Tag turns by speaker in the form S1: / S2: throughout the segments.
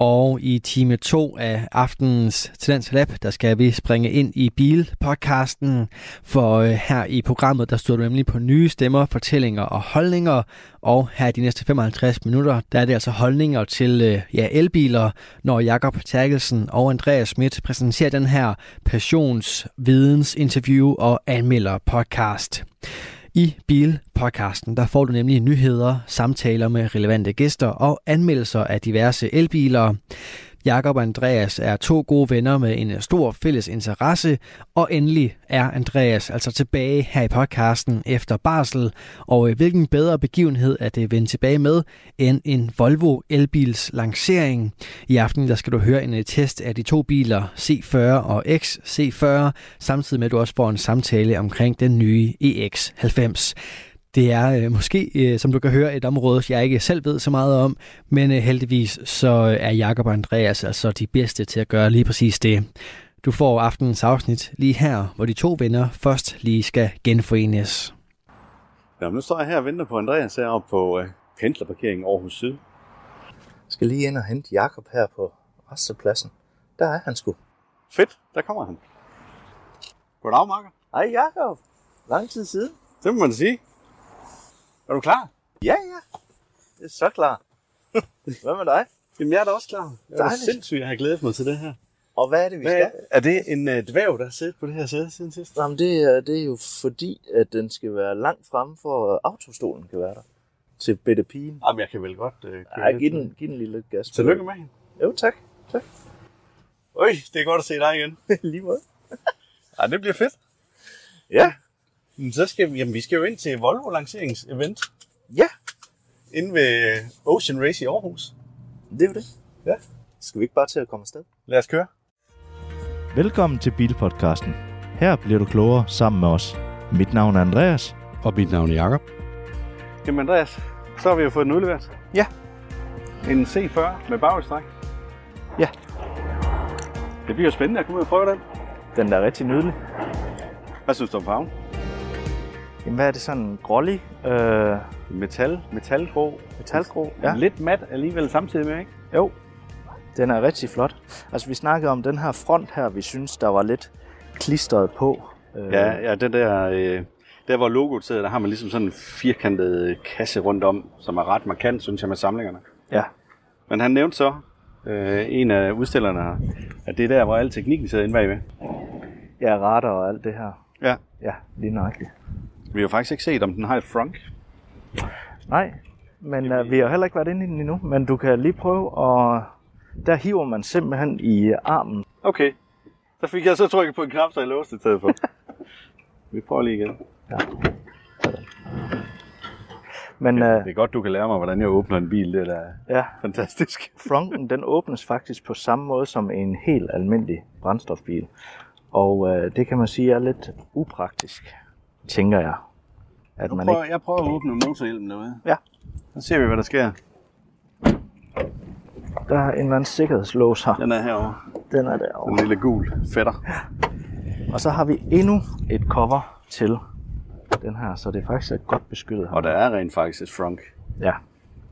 S1: Og i time 2 af aftenens Talents Lab, der skal vi springe ind i bilpodcasten. For øh, her i programmet, der stod du nemlig på nye stemmer, fortællinger og holdninger. Og her i de næste 55 minutter, der er det altså holdninger til øh, ja, elbiler, når Jakob Terkelsen og Andreas Schmidt præsenterer den her passions, videns, interview og anmelder podcast. I Bilpodcasten, der får du nemlig nyheder, samtaler med relevante gæster og anmeldelser af diverse elbiler. Jakob og Andreas er to gode venner med en stor fælles interesse, og endelig er Andreas altså tilbage her i podcasten efter barsel, og øh, hvilken bedre begivenhed er det vendt tilbage med end en Volvo elbils lancering. I aften der skal du høre en øh, test af de to biler C40 og XC40, samtidig med at du også får en samtale omkring den nye E EX90. Det er øh, måske, øh, som du kan høre, et område, jeg ikke selv ved så meget om, men øh, heldigvis så øh, er Jakob og Andreas altså de bedste til at gøre lige præcis det. Du får aftenens afsnit lige her, hvor de to venner først lige skal genforenes.
S2: Nå, men nu står jeg her og venter på Andreas heroppe på øh, pendlerparkeringen Aarhus Syd.
S3: Jeg skal lige ind og hente Jakob her på restepladsen. Der er han sgu.
S2: Fedt, der kommer han. Goddag, Marker.
S3: Hej Jakob. Lang tid siden.
S2: Det må man sige. Er du klar?
S3: Ja, ja. Det er så klar. Hvad med dig?
S2: Jamen, jeg er da også klar. Jeg er
S3: Dejligt.
S2: sindssygt, jeg har glædet mig til det her.
S3: Og hvad er det, vi
S2: Hvad er,
S3: skal?
S2: er det en øh, dværg, der har siddet på det her sæde siden sidst?
S3: Jamen, det, er, det er jo fordi, at den skal være langt frem for at autostolen kan være der. Til bitte pigen.
S2: Jamen, jeg kan vel godt øh, køre
S3: Ej,
S2: lidt.
S3: giv den, giv den lige lidt gas. på.
S2: Tillykke med hende.
S3: Jo, tak. Tak.
S2: Øj, det er godt at se dig igen.
S3: lige måde.
S2: Ej, det bliver fedt.
S3: Ja.
S2: Men så skal vi, jamen, vi skal jo ind til Volvo lanceringsevent
S3: Ja,
S2: inde ved øh, Ocean Race i Aarhus.
S3: det er jo det.
S2: Ja.
S3: Skal vi ikke bare til at komme afsted?
S2: Lad os køre.
S4: Velkommen til Bilpodcasten. Her bliver du klogere sammen med os. Mit navn er Andreas.
S5: Og mit navn er Jakob.
S2: Jamen Andreas, så har vi jo fået den udleveret.
S3: Ja.
S2: En C40 med bagudstræk.
S3: Ja.
S2: Det bliver jo spændende at komme ud og prøve den.
S3: Den er rigtig nydelig.
S2: Hvad synes du om farven?
S3: Jamen, hvad er det sådan? Grålig? Øh,
S2: Metal, metalgrå,
S3: metalgrå?
S2: ja. lidt mat alligevel samtidig med, ikke?
S3: Jo, den er rigtig flot. Altså, vi snakkede om den her front her, vi synes, der var lidt klistret på. Øh,
S2: Ja, ja den der, øh, der hvor logoet sidder, der har man ligesom sådan en firkantet øh, kasse rundt om, som er ret markant, synes jeg, med samlingerne.
S3: ja.
S2: Men han nævnte så, øh, en af udstillerne, her, at det er der, hvor al teknikken sidder inde bagved.
S3: Ja, radar og alt det her.
S2: Ja.
S3: Ja, lige nøjagtigt.
S2: Vi har jo faktisk ikke set, om den har et frunk.
S3: Nej, men øh, vi har heller ikke været inde i den endnu, men du kan lige prøve, og der hiver man simpelthen i armen.
S2: Okay. Så fik jeg så trykket på en knap, så jeg låste i stedet for. Vi prøver lige igen.
S3: Men øh,
S2: Det er godt, du kan lære mig, hvordan jeg åbner en bil. Det er da
S3: ja,
S2: fantastisk.
S3: fronten den åbnes faktisk på samme måde som en helt almindelig brændstofbil. Og øh, det kan man sige er lidt upraktisk, tænker jeg. At man ikke...
S2: Jeg prøver at åbne motorhjelmen derude.
S3: Ja.
S2: Så ser vi, hvad der sker.
S3: Der er en eller anden sikkerhedslås her.
S2: Den er herovre.
S3: Den er derovre.
S2: Den lille gul fætter.
S3: Og så har vi endnu et cover til den her, så det faktisk er godt beskyttet her.
S2: Og der er rent faktisk et frunk.
S3: Ja.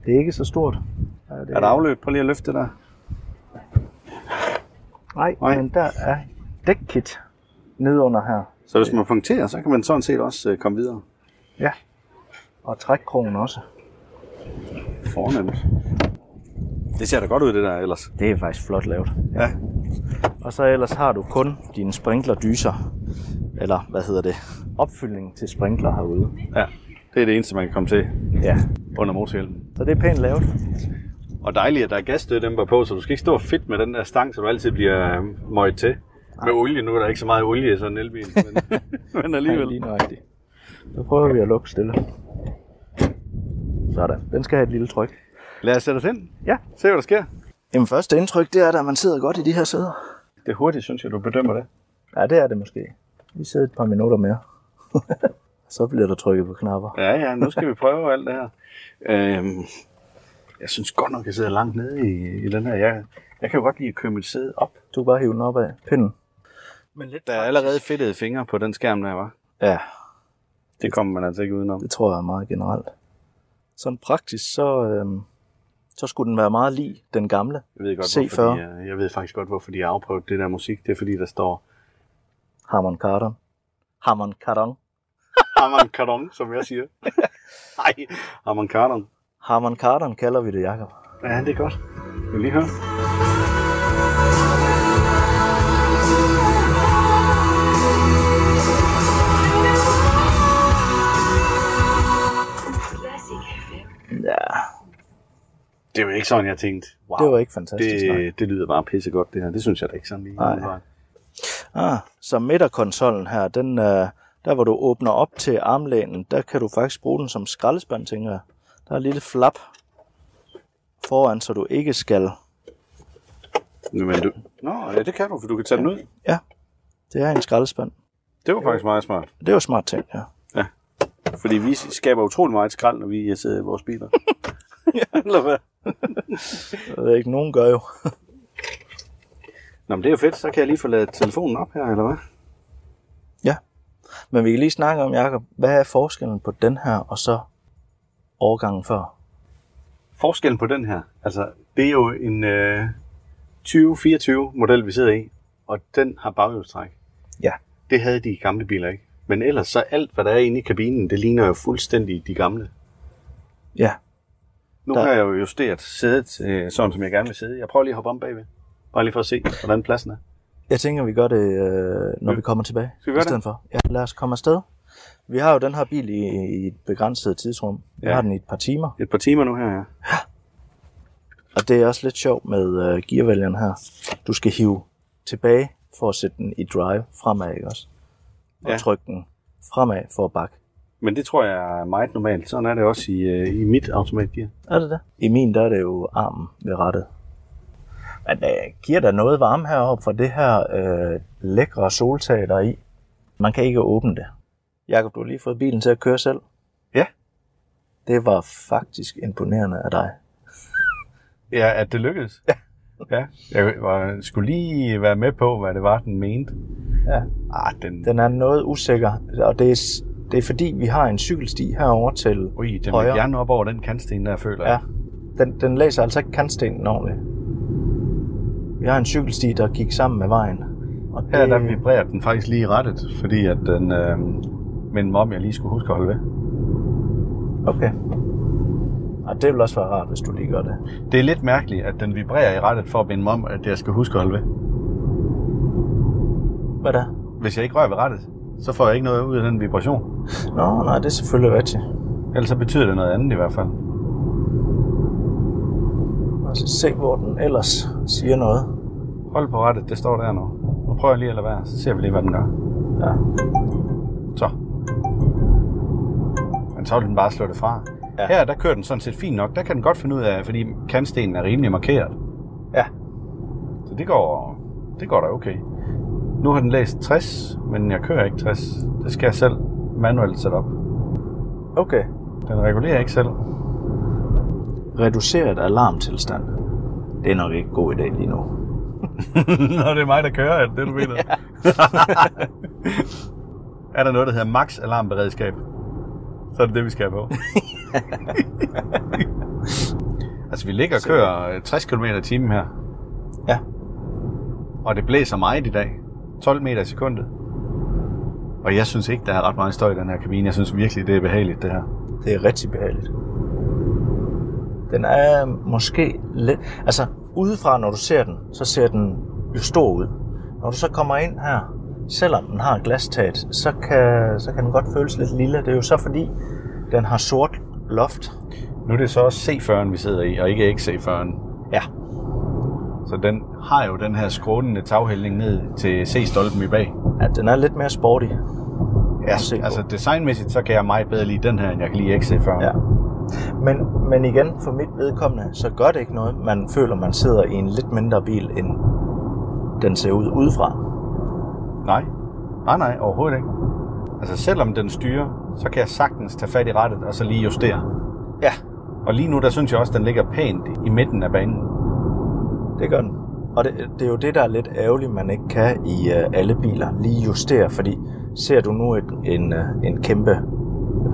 S3: Det er ikke så stort. Ja, det
S2: Er der afløb? Prøv lige at løfte det der.
S3: Nej,
S2: Nej.
S3: men der er dækkit nedunder her.
S2: Så hvis man punkterer, så kan man sådan set også øh, komme videre.
S3: Ja. Og trækkrogen også.
S2: Fornemt. Det ser da godt ud, det der ellers.
S3: Det er faktisk flot lavet.
S2: Ja.
S3: Og så ellers har du kun dine sprinklerdyser. Eller hvad hedder det? Opfyldning til sprinkler herude.
S2: ja. Det er det eneste, man kan komme til
S3: Ja.
S2: under motorhjelmen.
S3: Så det er pænt lavet.
S2: Og dejligt, at der er gasstøddæmper på, så du skal ikke stå og fedt med den der stang, så du altid bliver øh, møjt til. Med olie, nu er der ikke så meget olie i sådan en elbil, men, men alligevel.
S3: lige nøjagtigt. Nu prøver vi at lukke stille. Sådan. Den skal have et lille tryk.
S2: Lad os sætte os ind.
S3: Ja.
S2: Se, hvad der sker.
S3: Jamen første indtryk, det er, at man sidder godt i de her sæder.
S2: Det er hurtigt, synes jeg, du bedømmer det.
S3: Ja, det er det måske. Vi sidder et par minutter mere. så bliver der trykket på knapper.
S2: Ja, ja, nu skal vi prøve alt det her. Øhm, jeg synes godt nok, jeg sidder langt nede i, i den her. Jeg, jeg kan jo godt lide at køre mit sæde op.
S3: Du kan bare hive den op af pinden.
S2: Men lidt der er allerede fedtede fingre på den skærm der, var.
S3: Ja,
S2: Det kommer man altså ikke udenom.
S3: det tror jeg er meget generelt. Sådan praktisk, så, øhm, så skulle den være meget lig den gamle.
S2: Jeg ved, godt,
S3: C40.
S2: hvorfor de, øh, jeg ved faktisk godt, hvorfor de har afprøvet det der musik. Det er fordi, der står
S3: Harmon Kardon. Harmon Kardon.
S2: Harman Kardon, som jeg siger. Nej, Harman Kardon.
S3: Harmon Kardon kalder vi det, Jacob.
S2: Ja, det er godt. Vil du lige høre?
S3: Ja,
S2: Det er jo ikke sådan, jeg tænkte. Wow,
S3: det var ikke fantastisk nok.
S2: det, det lyder bare pissegodt, det her. Det synes jeg da ikke sådan lige.
S3: Nej. Ah, så midterkonsollen her, den, øh, der hvor du åbner op til armlænen, der kan du faktisk bruge den som skraldespand, tænker jeg. Der er et lille flap foran, så du ikke skal...
S2: Nu, men du... Nå, ja, det kan du, for du kan tage den ud.
S3: Ja, det er en skraldespand.
S2: Det var faktisk meget smart.
S3: Det er jo smart ting, ja.
S2: Fordi vi skaber utrolig meget skrald, når vi øh, sidder i vores biler. ja, eller hvad?
S3: Det ved jeg ikke, nogen gør jo.
S2: Nå, men det er jo fedt. Så kan jeg lige få lavet telefonen op her, eller hvad?
S3: ja. Men vi kan lige snakke om, Jacob, hvad er forskellen på den her og så årgangen før?
S2: Forskellen på den her, altså, det er jo en øh, 2024 model, vi sidder i, og den har baghjulstræk.
S3: Ja.
S2: Det havde de gamle biler ikke. Men ellers så alt, hvad der er inde i kabinen, det ligner jo fuldstændig de gamle.
S3: Ja,
S2: Nu
S3: Der-
S2: har jeg jo justeret sædet, øh, sådan som jeg gerne vil sidde. Jeg prøver lige at hoppe om bagved. Bare lige for at se, hvordan pladsen er.
S3: Jeg tænker, vi gør det, øh, når
S2: Ja.
S3: vi kommer tilbage.
S2: Skal vi gøre
S3: i stedet for. Ja, lad os komme afsted. Vi har jo den her bil i, i et begrænset tidsrum. Vi
S2: Ja.
S3: ja. har den i et par timer.
S2: Et par timer nu her, ja.
S3: Og det er også lidt sjovt med øh, gearvælgeren her. Du skal hive tilbage for at sætte den i drive fremad, ikke også? Og
S2: Ja.
S3: ja. trykke den fremad for at bakke.
S2: Men det tror jeg er meget normalt. Sådan er det også i, øh, i mit automatgear.
S3: Er det det? I min, der er det jo armen ved rettet. Men øh, giver der noget varme heroppe for det her øh, lækre soltag, der er i? Man kan ikke åbne det. Jakob, du har lige fået bilen til at køre selv.
S2: Ja.
S3: Det var faktisk imponerende af dig.
S2: Ja, at det lykkedes. Ja. ja. Jeg var, skulle lige være med på, hvad det var, den mente.
S3: Ja.
S2: Ah, den... den
S3: Den er noget usikker, og det er, s- det er fordi, vi har en cykelsti herover til
S2: ui, den er
S3: højre.
S2: gerne op over den kantsten, der føler
S3: Ja.
S2: jeg.
S3: Den, den læser altså ikke kantstenen ordentligt. Vi har en cykelsti, der gik sammen med vejen. Og det,
S2: Her der vibrerer den faktisk lige i rettet, fordi at den øh, mindede mig om, jeg lige skulle huske at holde ved.
S3: Okay. Og det vil også være rart, hvis du lige gør det.
S2: Det er lidt mærkeligt, at den vibrerer i rettet for at minde mig om, at jeg skal huske at holde ved.
S3: Hvad da?
S2: Hvis jeg ikke rører ved rettet, så får jeg ikke noget ud af den vibration.
S3: Nå, nej, det er selvfølgelig rigtigt.
S2: Ellers så betyder det noget andet i hvert fald.
S3: Altså, se, hvor den ellers siger noget.
S2: Hold på rettet, det står der nu. Nu prøver jeg lige at lade være, så ser vi lige, hvad den gør.
S3: Ja.
S2: Så. Men så vil den bare slå det fra. Ja.
S3: Ja.
S2: Her, der kører den sådan set fint nok. Der kan den godt finde ud af, fordi kantstenen er rimelig markeret.
S3: Ja.
S2: Så det går, det går da okay. Nu har den læst 60, men jeg kører ikke 60. Det skal jeg selv manuelt sætte op.
S3: Okay.
S2: Den regulerer ikke selv.
S3: Reduceret alarmtilstand. Det er nok ikke en god idé lige nu.
S2: Nå, det er mig, der kører, er det det, du mener? er der noget, der hedder max alarmberedskab? Så er det det, vi skal have på. altså, vi ligger og kører øh, 60 km i timen her.
S3: Ja.
S2: Og det blæser meget i dag. 12 meter i sekundet. Og jeg synes ikke, der er ret meget støj i den her kabine. Jeg synes virkelig, det er behageligt, det her.
S3: Det er rigtig behageligt. Den er måske lidt... Altså, udefra, når du ser den, så ser den jo stor ud. Når du så kommer ind her, selvom den har glastaget, så kan, så kan den godt føles lidt lille. Det er jo så fordi, den har sort loft.
S2: Nu er det så også C40'en, vi sidder i, og ikke XC40'en.
S3: Ja.
S2: Så den har jo den her skrånende taghældning ned til C-stolpen i bag.
S3: ja den er lidt mere sporty.
S2: Ja,
S3: at se på.
S2: altså designmæssigt, så kan jeg meget bedre lide den her, end jeg kan lide XC40.
S3: Ja. Men, men igen, for mit vedkommende, så gør det ikke noget. Man føler, man sidder i en lidt mindre bil, end den ser ud udefra.
S2: Nej. Nej, nej, overhovedet ikke. Altså selvom den styrer, så kan jeg sagtens tage fat i rettet og så lige justere.
S3: Ja,
S2: Og lige nu, der synes jeg også, den ligger pænt i midten af banen.
S3: det gør den. Og det, det er jo det, der er lidt ærgerligt, man ikke kan i øh, alle biler lige justere, fordi ser du nu et, en, øh, en kæmpe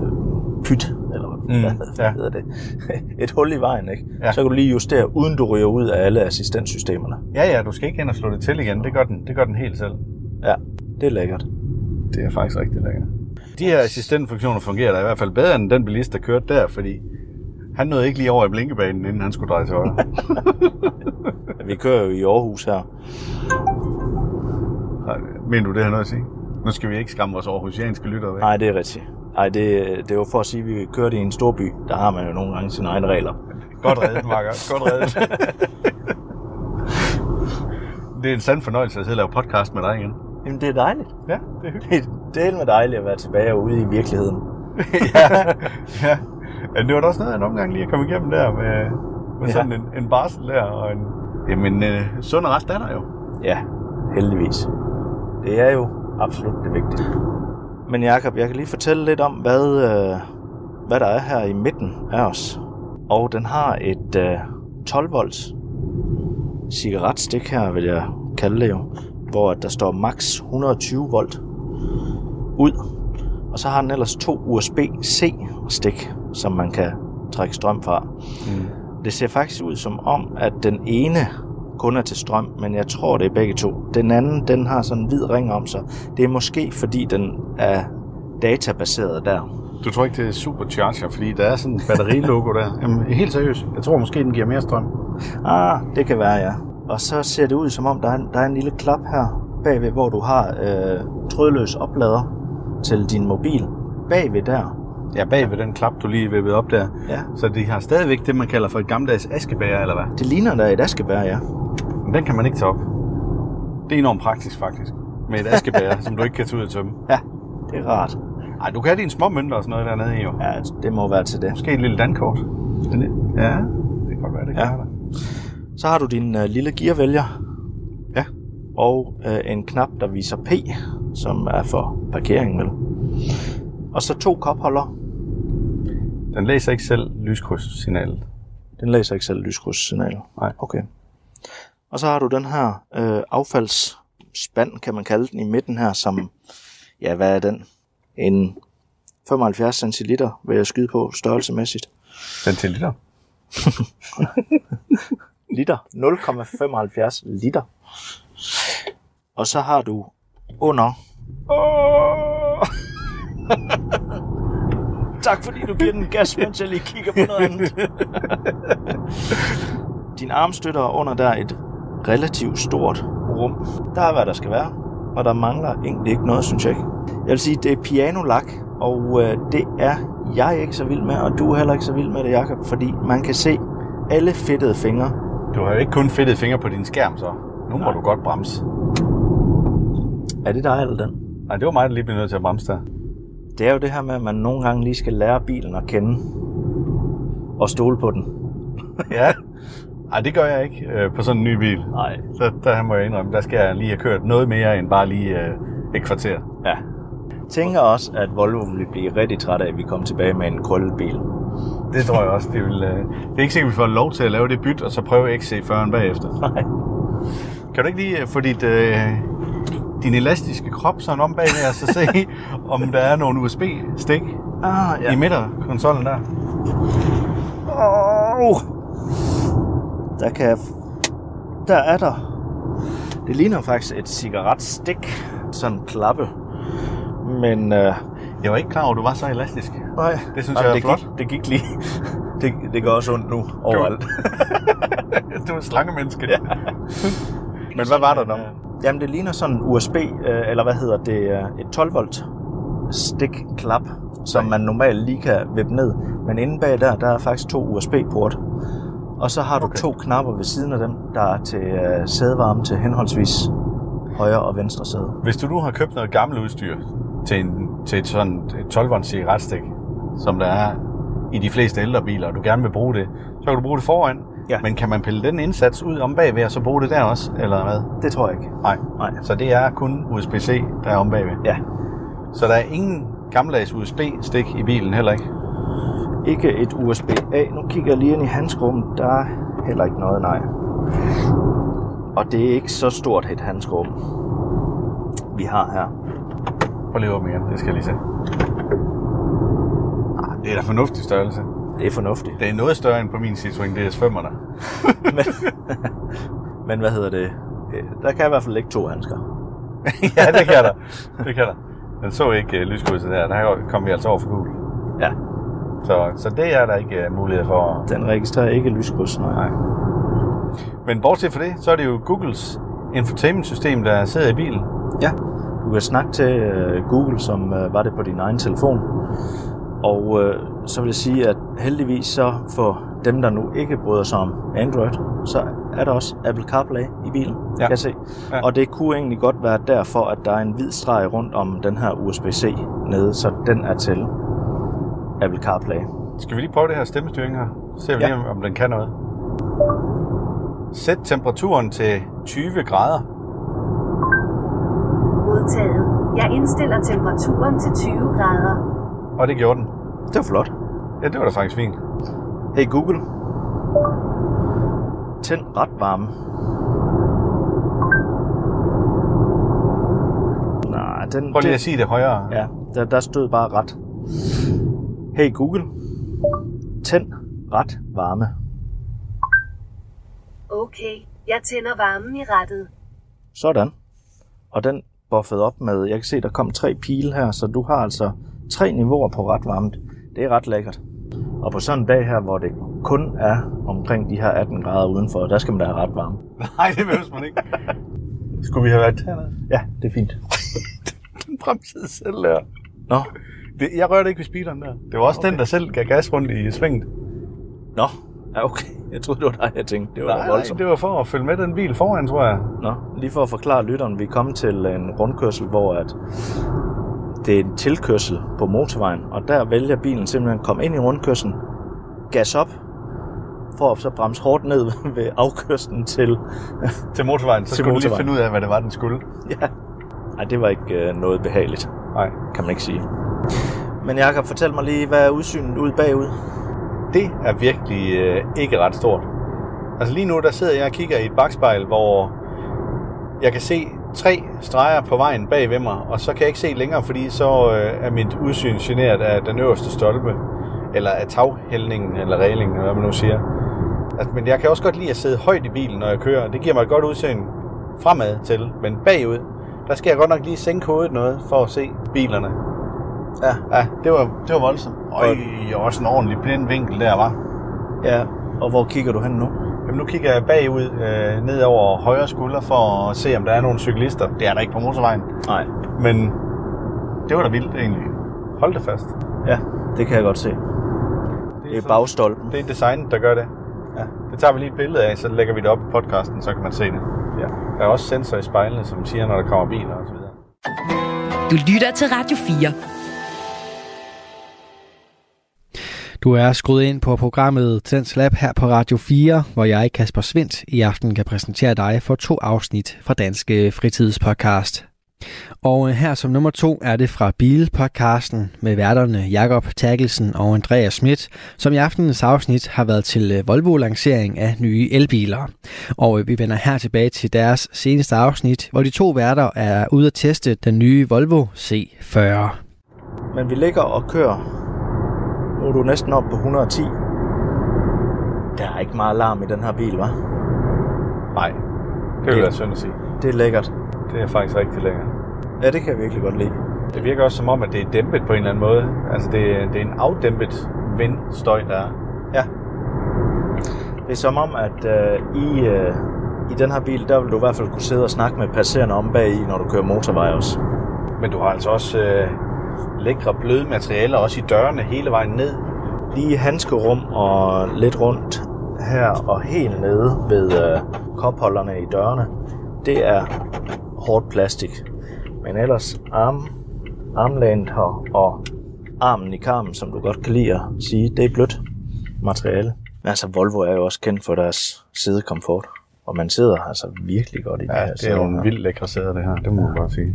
S3: øh, pyt, eller mm, hvad
S2: ja.
S3: ja. hedder det, et hul i vejen, ikke?
S2: Ja.
S3: Ja. så kan du lige justere, uden du ryger ud af alle assistenssystemerne.
S2: Ja, ja, du skal ikke hen og slå det til igen. Det gør den, det gør den helt selv.
S3: Ja, det er lækkert.
S2: Det er faktisk rigtig lækkert. De her assistentfunktioner fungerer da i hvert fald bedre end den bilist, der kørte der, fordi han nåede ikke lige over i blinkebanen, inden han skulle dreje til højre.
S3: Vi kører jo i Aarhus her.
S2: Nej, Mener du det, han også sige? Nu skal vi ikke skamme vores aarhusianske lyttere væk.
S3: Nej, det er rigtigt. Nej, det, det var for at sige, at vi kørte i en stor by. Der har man jo nogle gange sine egne regler.
S2: Godt reddet, Marker. Godt reddet. det er en sand fornøjelse at sidde og lave podcast med dig igen.
S3: Jamen, det er dejligt.
S2: Ja, det er hyggeligt.
S3: Det er del med dejligt at være tilbage ude i virkeligheden.
S2: ja. Men det var da også noget af en omgang lige at komme igennem der med, med
S3: Ja.
S2: sådan en, en barsel der. Og en, jamen, øh, sund og rest er der jo.
S3: Ja, heldigvis. Det er jo absolut det vigtigste. Men Jakob, jeg kan lige fortælle lidt om, hvad, øh, hvad der er her i midten af os. Og den har et øh, 12 volts cigaretstik her, vil jeg kalde det jo, hvor at der står max 120 volt ud. Og så har den ellers to USB-C stik, som man kan trække strøm fra. Det ser faktisk ud som om, at den ene kun er til strøm, men jeg tror, det er begge to. Den anden, den har sådan en hvid ring om sig. Det er måske, fordi den er databaseret der.
S2: Du tror ikke, det er supercharger, fordi der er sådan en batterilogo der. Jamen, helt seriøst. Jeg tror måske, den giver mere strøm.
S3: Ah, det kan være, ja. Og så ser det ud som om, der er en, der er en lille klap her bagved, hvor du har øh, trådløs oplader til din mobil. Bagved der.
S2: Ja, bag ved den klap, du lige vippede op der.
S3: Ja.
S2: Så de har stadigvæk det, man kalder for et gammeldags askebæger, eller hvad?
S3: Det ligner da et askebær, ja.
S2: Men den kan man ikke tage op. Det er enormt praktisk, faktisk. Med et askebæger, som du ikke kan tage ud og tømme.
S3: Ja, det er rart.
S2: Ej, du kan have dine små mønter og sådan noget dernede i, jo.
S3: Ja, det må være til det.
S2: Måske et lille dankort. Ja, det kan godt være, det kan
S3: Ja.
S2: være der.
S3: Så har du din øh, lille gearvælger.
S2: Ja.
S3: Og øh, en knap, der viser P, som er for parkering, vel? Og så to kopholder.
S2: Den læser ikke selv lyskrydssignal.
S3: Den læser ikke selv lyskrydssignal.
S2: Nej.
S3: Okay. Og så har du den her øh, affaldsspand, kan man kalde den, i midten her, som... Ja, hvad er den? En 75 centiliter, vil jeg skyde på, størrelsemæssigt.
S2: Centiliter.
S3: liter. 0,75 liter. Og så har du under. Oh! tak fordi du giver den gas, mens jeg lige kigger på noget andet. Din armstøtter er under der et relativt stort rum. Der er, hvad der skal være, og der mangler egentlig ikke noget, synes jeg ikke. Jeg vil sige, det er pianolak, og øh, det er jeg ikke så vild med, og du er heller ikke så vild med det, Jacob, fordi man kan se alle fedtede fingre
S2: Du har jo ikke kun fedtet fingre på din skærm, så. Nu må Nej. du godt bremse.
S3: Er det dig eller den?
S2: Nej, det var mig, der lige blev nødt til at bremse der.
S3: Det er jo det her med, at man nogle gange lige skal lære bilen at kende. Og stole på den.
S2: ja. Nej, det gør jeg ikke øh, på sådan en ny bil.
S3: Nej.
S2: Så der må jeg indrømme, der skal jeg lige have kørt noget mere end bare lige øh, et kvarter.
S3: Ja. Tænker også, at Volvo vil blive rigtig træt af, at vi kommer tilbage med en krøllet bil.
S2: Det tror jeg også, det vil... Øh, det er ikke sikkert, vi får lov til at lave det byt, og så prøve XC40'en bagefter.
S3: Nej.
S2: Kan du ikke lige øh, få dit, øh, din elastiske krop sådan om bagved, og så se, om der er nogle USB-stik
S3: Ah,
S2: ja. i midterkonsollen der?
S3: Oh. Der kan jeg... Der er der. Det ligner faktisk et cigaretstik. Sådan en klappe. Men øh,
S2: Jeg var ikke klar over, at du var så elastisk.
S3: nej,
S2: Det synes
S3: nej,
S2: jeg er
S3: det
S2: flot.
S3: Gik, det gik lige. det, det gør også ondt nu overalt.
S2: Du er en slangemenneske. Ja. Men hvad var der dog?
S3: Øh, Jamen, det ligner sådan en USB, øh, eller hvad hedder det, øh, et 12 volt stikklap, som man normalt lige kan vippe ned. Men inde bag der, der er faktisk to USB-port. Og så har du okay. to knapper ved siden af dem, der er til øh, sædevarme til henholdsvis højre og venstre sæde.
S2: Hvis du nu har købt noget gammelt udstyr til, en, til et sådan et 12 cigaretstik, som der er i de fleste ældre biler, og du gerne vil bruge det, så kan du bruge det foran.
S3: Ja.
S2: Men kan man pille den indsats ud om bagved, og så bruge det der også, eller hvad?
S3: Det tror jeg ikke.
S2: Nej.
S3: Nej.
S2: Så det er kun USB-C, der er om bagved.
S3: Ja,
S2: Så der er ingen gammeldags USB-stik i bilen heller ikke.
S3: ikke et USB-A. Nu kigger jeg lige ind i handskerummet. Der er heller ikke noget, nej. Og det er ikke så stort et handskåb, vi har her.
S2: Prøv lige at åbne igen, det skal jeg lige se. Ah, Det er da fornuftig størrelse.
S3: Det er fornuftigt.
S2: Det er noget større end på min Citroën DS5'erne.
S3: Men, men hvad hedder det? Øh, Der kan i hvert fald ikke to handsker.
S2: ja, det kan der. Det kan der. Den så ikke uh, lyskrydset der. Der kom vi altså over for gul.
S3: Ja.
S2: Så, så det er der ikke uh, mulighed for.
S3: Den registrerer ikke lyskryds, nej.
S2: Men bortset fra det, så er det jo Googles infotainment-system, der sidder i bilen.
S3: Du kan snakke til øh, Google, som øh, var det på din egen telefon. Og øh, så vil jeg sige, at heldigvis så for dem, der nu ikke bryder sig om Android, så er der også Apple CarPlay i bilen, ja. kan jeg se. Ja. Og det kunne egentlig godt være derfor, at der er en hvid streg rundt om den her USB-C nede, så den er til Apple CarPlay.
S2: Skal vi lige prøve det her stemmestyring her? Se vi
S3: Ja.
S2: ja. lige, om den kan noget. Sæt temperaturen til 20 grader.
S6: Modtaget. Jeg indstiller temperaturen til 20 grader.
S2: Og det gjorde den.
S3: Det var flot.
S2: Ja, det var da faktisk fint.
S3: Hey Google. Tænd ret varme. Nej, den...
S2: Prøv lige
S3: det-
S2: at sige det højere.
S3: Ja, der, der stod bare ret. Hey Google. Tænd ret varme.
S6: Okay, jeg tænder varmen i rettet.
S3: Sådan. Og den buffede op med, jeg kan se, der kom tre pile her, så du har altså tre niveauer på ret varmt. Det er ret lækkert. Og på sådan en dag her, hvor det kun er omkring de her 18 grader udenfor, der skal man da have ret varme.
S2: Nej, det behøves man ikke. Skulle vi have været hernede?
S3: Ja, det er fint.
S2: Den bremsede selv der.
S3: Nå,
S2: Det, jeg rørte ikke ved speederen der. Det var også okay. den, der selv gav gas rundt i svinget.
S3: nå, ja okay. Jeg troede, det var dig, jeg tænkte. Det var
S2: Nej,
S3: da
S2: nej,
S3: voldsomt.
S2: det var for at følge med den bil foran, tror jeg.
S3: Nå, lige for at forklare lytteren, vi er kommet til en rundkørsel, hvor at det er en tilkørsel på motorvejen, og der vælger bilen simpelthen at komme ind i rundkørselen, gas op, for at så bremse hårdt ned ved afkørslen til...
S2: Til motorvejen, så
S3: Til
S2: skulle du lige
S3: motorvejen.
S2: finde ud af, hvad det var, den skulle.
S3: ja, Ej, det var ikke øh, noget behageligt,
S2: Nej.
S3: kan man ikke sige. Men Jakob, fortæl mig lige, hvad er udsynet ud bagud?
S2: Det er virkelig øh, ikke ret stort. Altså lige nu, der sidder jeg og kigger i et bagspejl, hvor jeg kan se tre streger på vejen bag ved mig, og så kan jeg ikke se længere, fordi så øh, er mit udsyn generet af den øverste stolpe, eller af taghældningen, eller reglingen, eller hvad man nu siger. Altså, men jeg kan også godt lide at sidde højt i bilen, når jeg kører. Det giver mig et godt udsyn fremad til, men bagud, der skal jeg godt nok lige sænke hovedet noget, for at se bilerne. Ja, ja det, var, det var voldsomt. Øj, også en ordentlig blind vinkel der, var.
S3: Ja, og hvor kigger du hen nu?
S2: Jamen, nu kigger jeg bagud, øh, ned over højre skulder, for at se, om der er nogle cyklister. Det er der ikke på motorvejen.
S3: Nej.
S2: Men det var da vildt, egentlig. Hold det fast.
S3: Ja, det kan jeg godt se. Det er
S2: sådan-
S3: bagstolpen.
S2: Det er designet, der gør det.
S3: Ja.
S2: Det tager vi lige et billede af, så lægger vi det op i podcasten, så kan man se det. Ja. Der er også sensor i spejlene, som siger, når der kommer biler og så videre.
S7: Du lytter til Radio 4.
S8: Du er skruet ind på programmet Tens Lab her på Radio 4, hvor jeg, Kasper Svendt, i aften kan præsentere dig for to afsnit fra Danske Fritidspodcast. Og øh, her som nummer to er det fra Bilpodcasten med værterne Jakob Terkelsen og Andreas Schmidt, som i aftenens afsnit har været til øh, Volvo-lancering af nye elbiler. Og øh, vi vender her tilbage til deres seneste afsnit, hvor de to værter er ude at teste den nye Volvo C40.
S3: Men vi ligger og kører. Nu er du næsten oppe på 110. Der er ikke meget larm i den her bil, hva'?
S2: Nej, det vil
S3: Det-
S2: være synd at sige.
S3: Det er lækkert.
S2: Det er faktisk rigtig lækkert.
S3: Ja, det kan jeg virkelig godt lide.
S2: Det virker også som om, at det er dæmpet på en eller anden måde. Altså, det, er- det er en afdæmpet vindstøj, der er.
S3: Ja. Det er som om, at øh, i, øh, i den her bil, der vil du i hvert fald kunne sidde og snakke med passerende om bag i, når du kører motorvej også.
S2: Men du har altså også øh, lækre bløde materialer, også i dørene hele vejen ned.
S3: Lige handskerum og lidt rundt her og helt nede ved øh, kopholderne i dørene. Det er hårdt plastik. Men ellers arm, armlænet her og armen i karmen, som du godt kan lide at sige, det er blødt materiale. Men altså Volvo er jo også kendt for deres sidekomfort. Og man sidder altså virkelig godt i de her sæder her.
S2: vildt lækre sæder, det her. Det må man godt sige.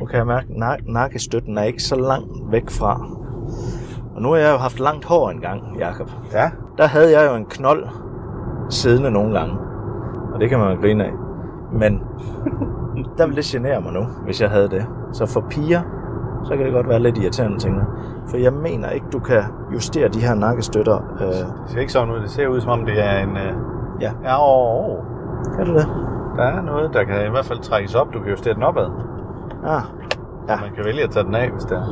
S3: Nu kan jeg mærke, at nak- nakkestøtten er ikke så langt væk fra. Og nu har jeg jo haft langt hår engang, Jakob.
S2: Ja,
S3: Der havde jeg jo en knold siddende nogle gange. og det kan man jo grine af. Men der ville det genere mig nu, hvis jeg havde det. Så for piger, så kan det godt være lidt irriterende, tænker jeg. For jeg mener ikke, du kan justere de her nakkestøtter. Øh,
S2: Det ser ikke sådan ud. Det ser ud, som om det er en... Øh...
S3: Ja.
S2: Ja, og, og.
S3: kan du det?
S2: Der er noget, der kan i hvert fald trækkes op. Du kan justere den opad.
S3: Ja,
S2: Ja. Man kan vælge at tage den af, hvis det er.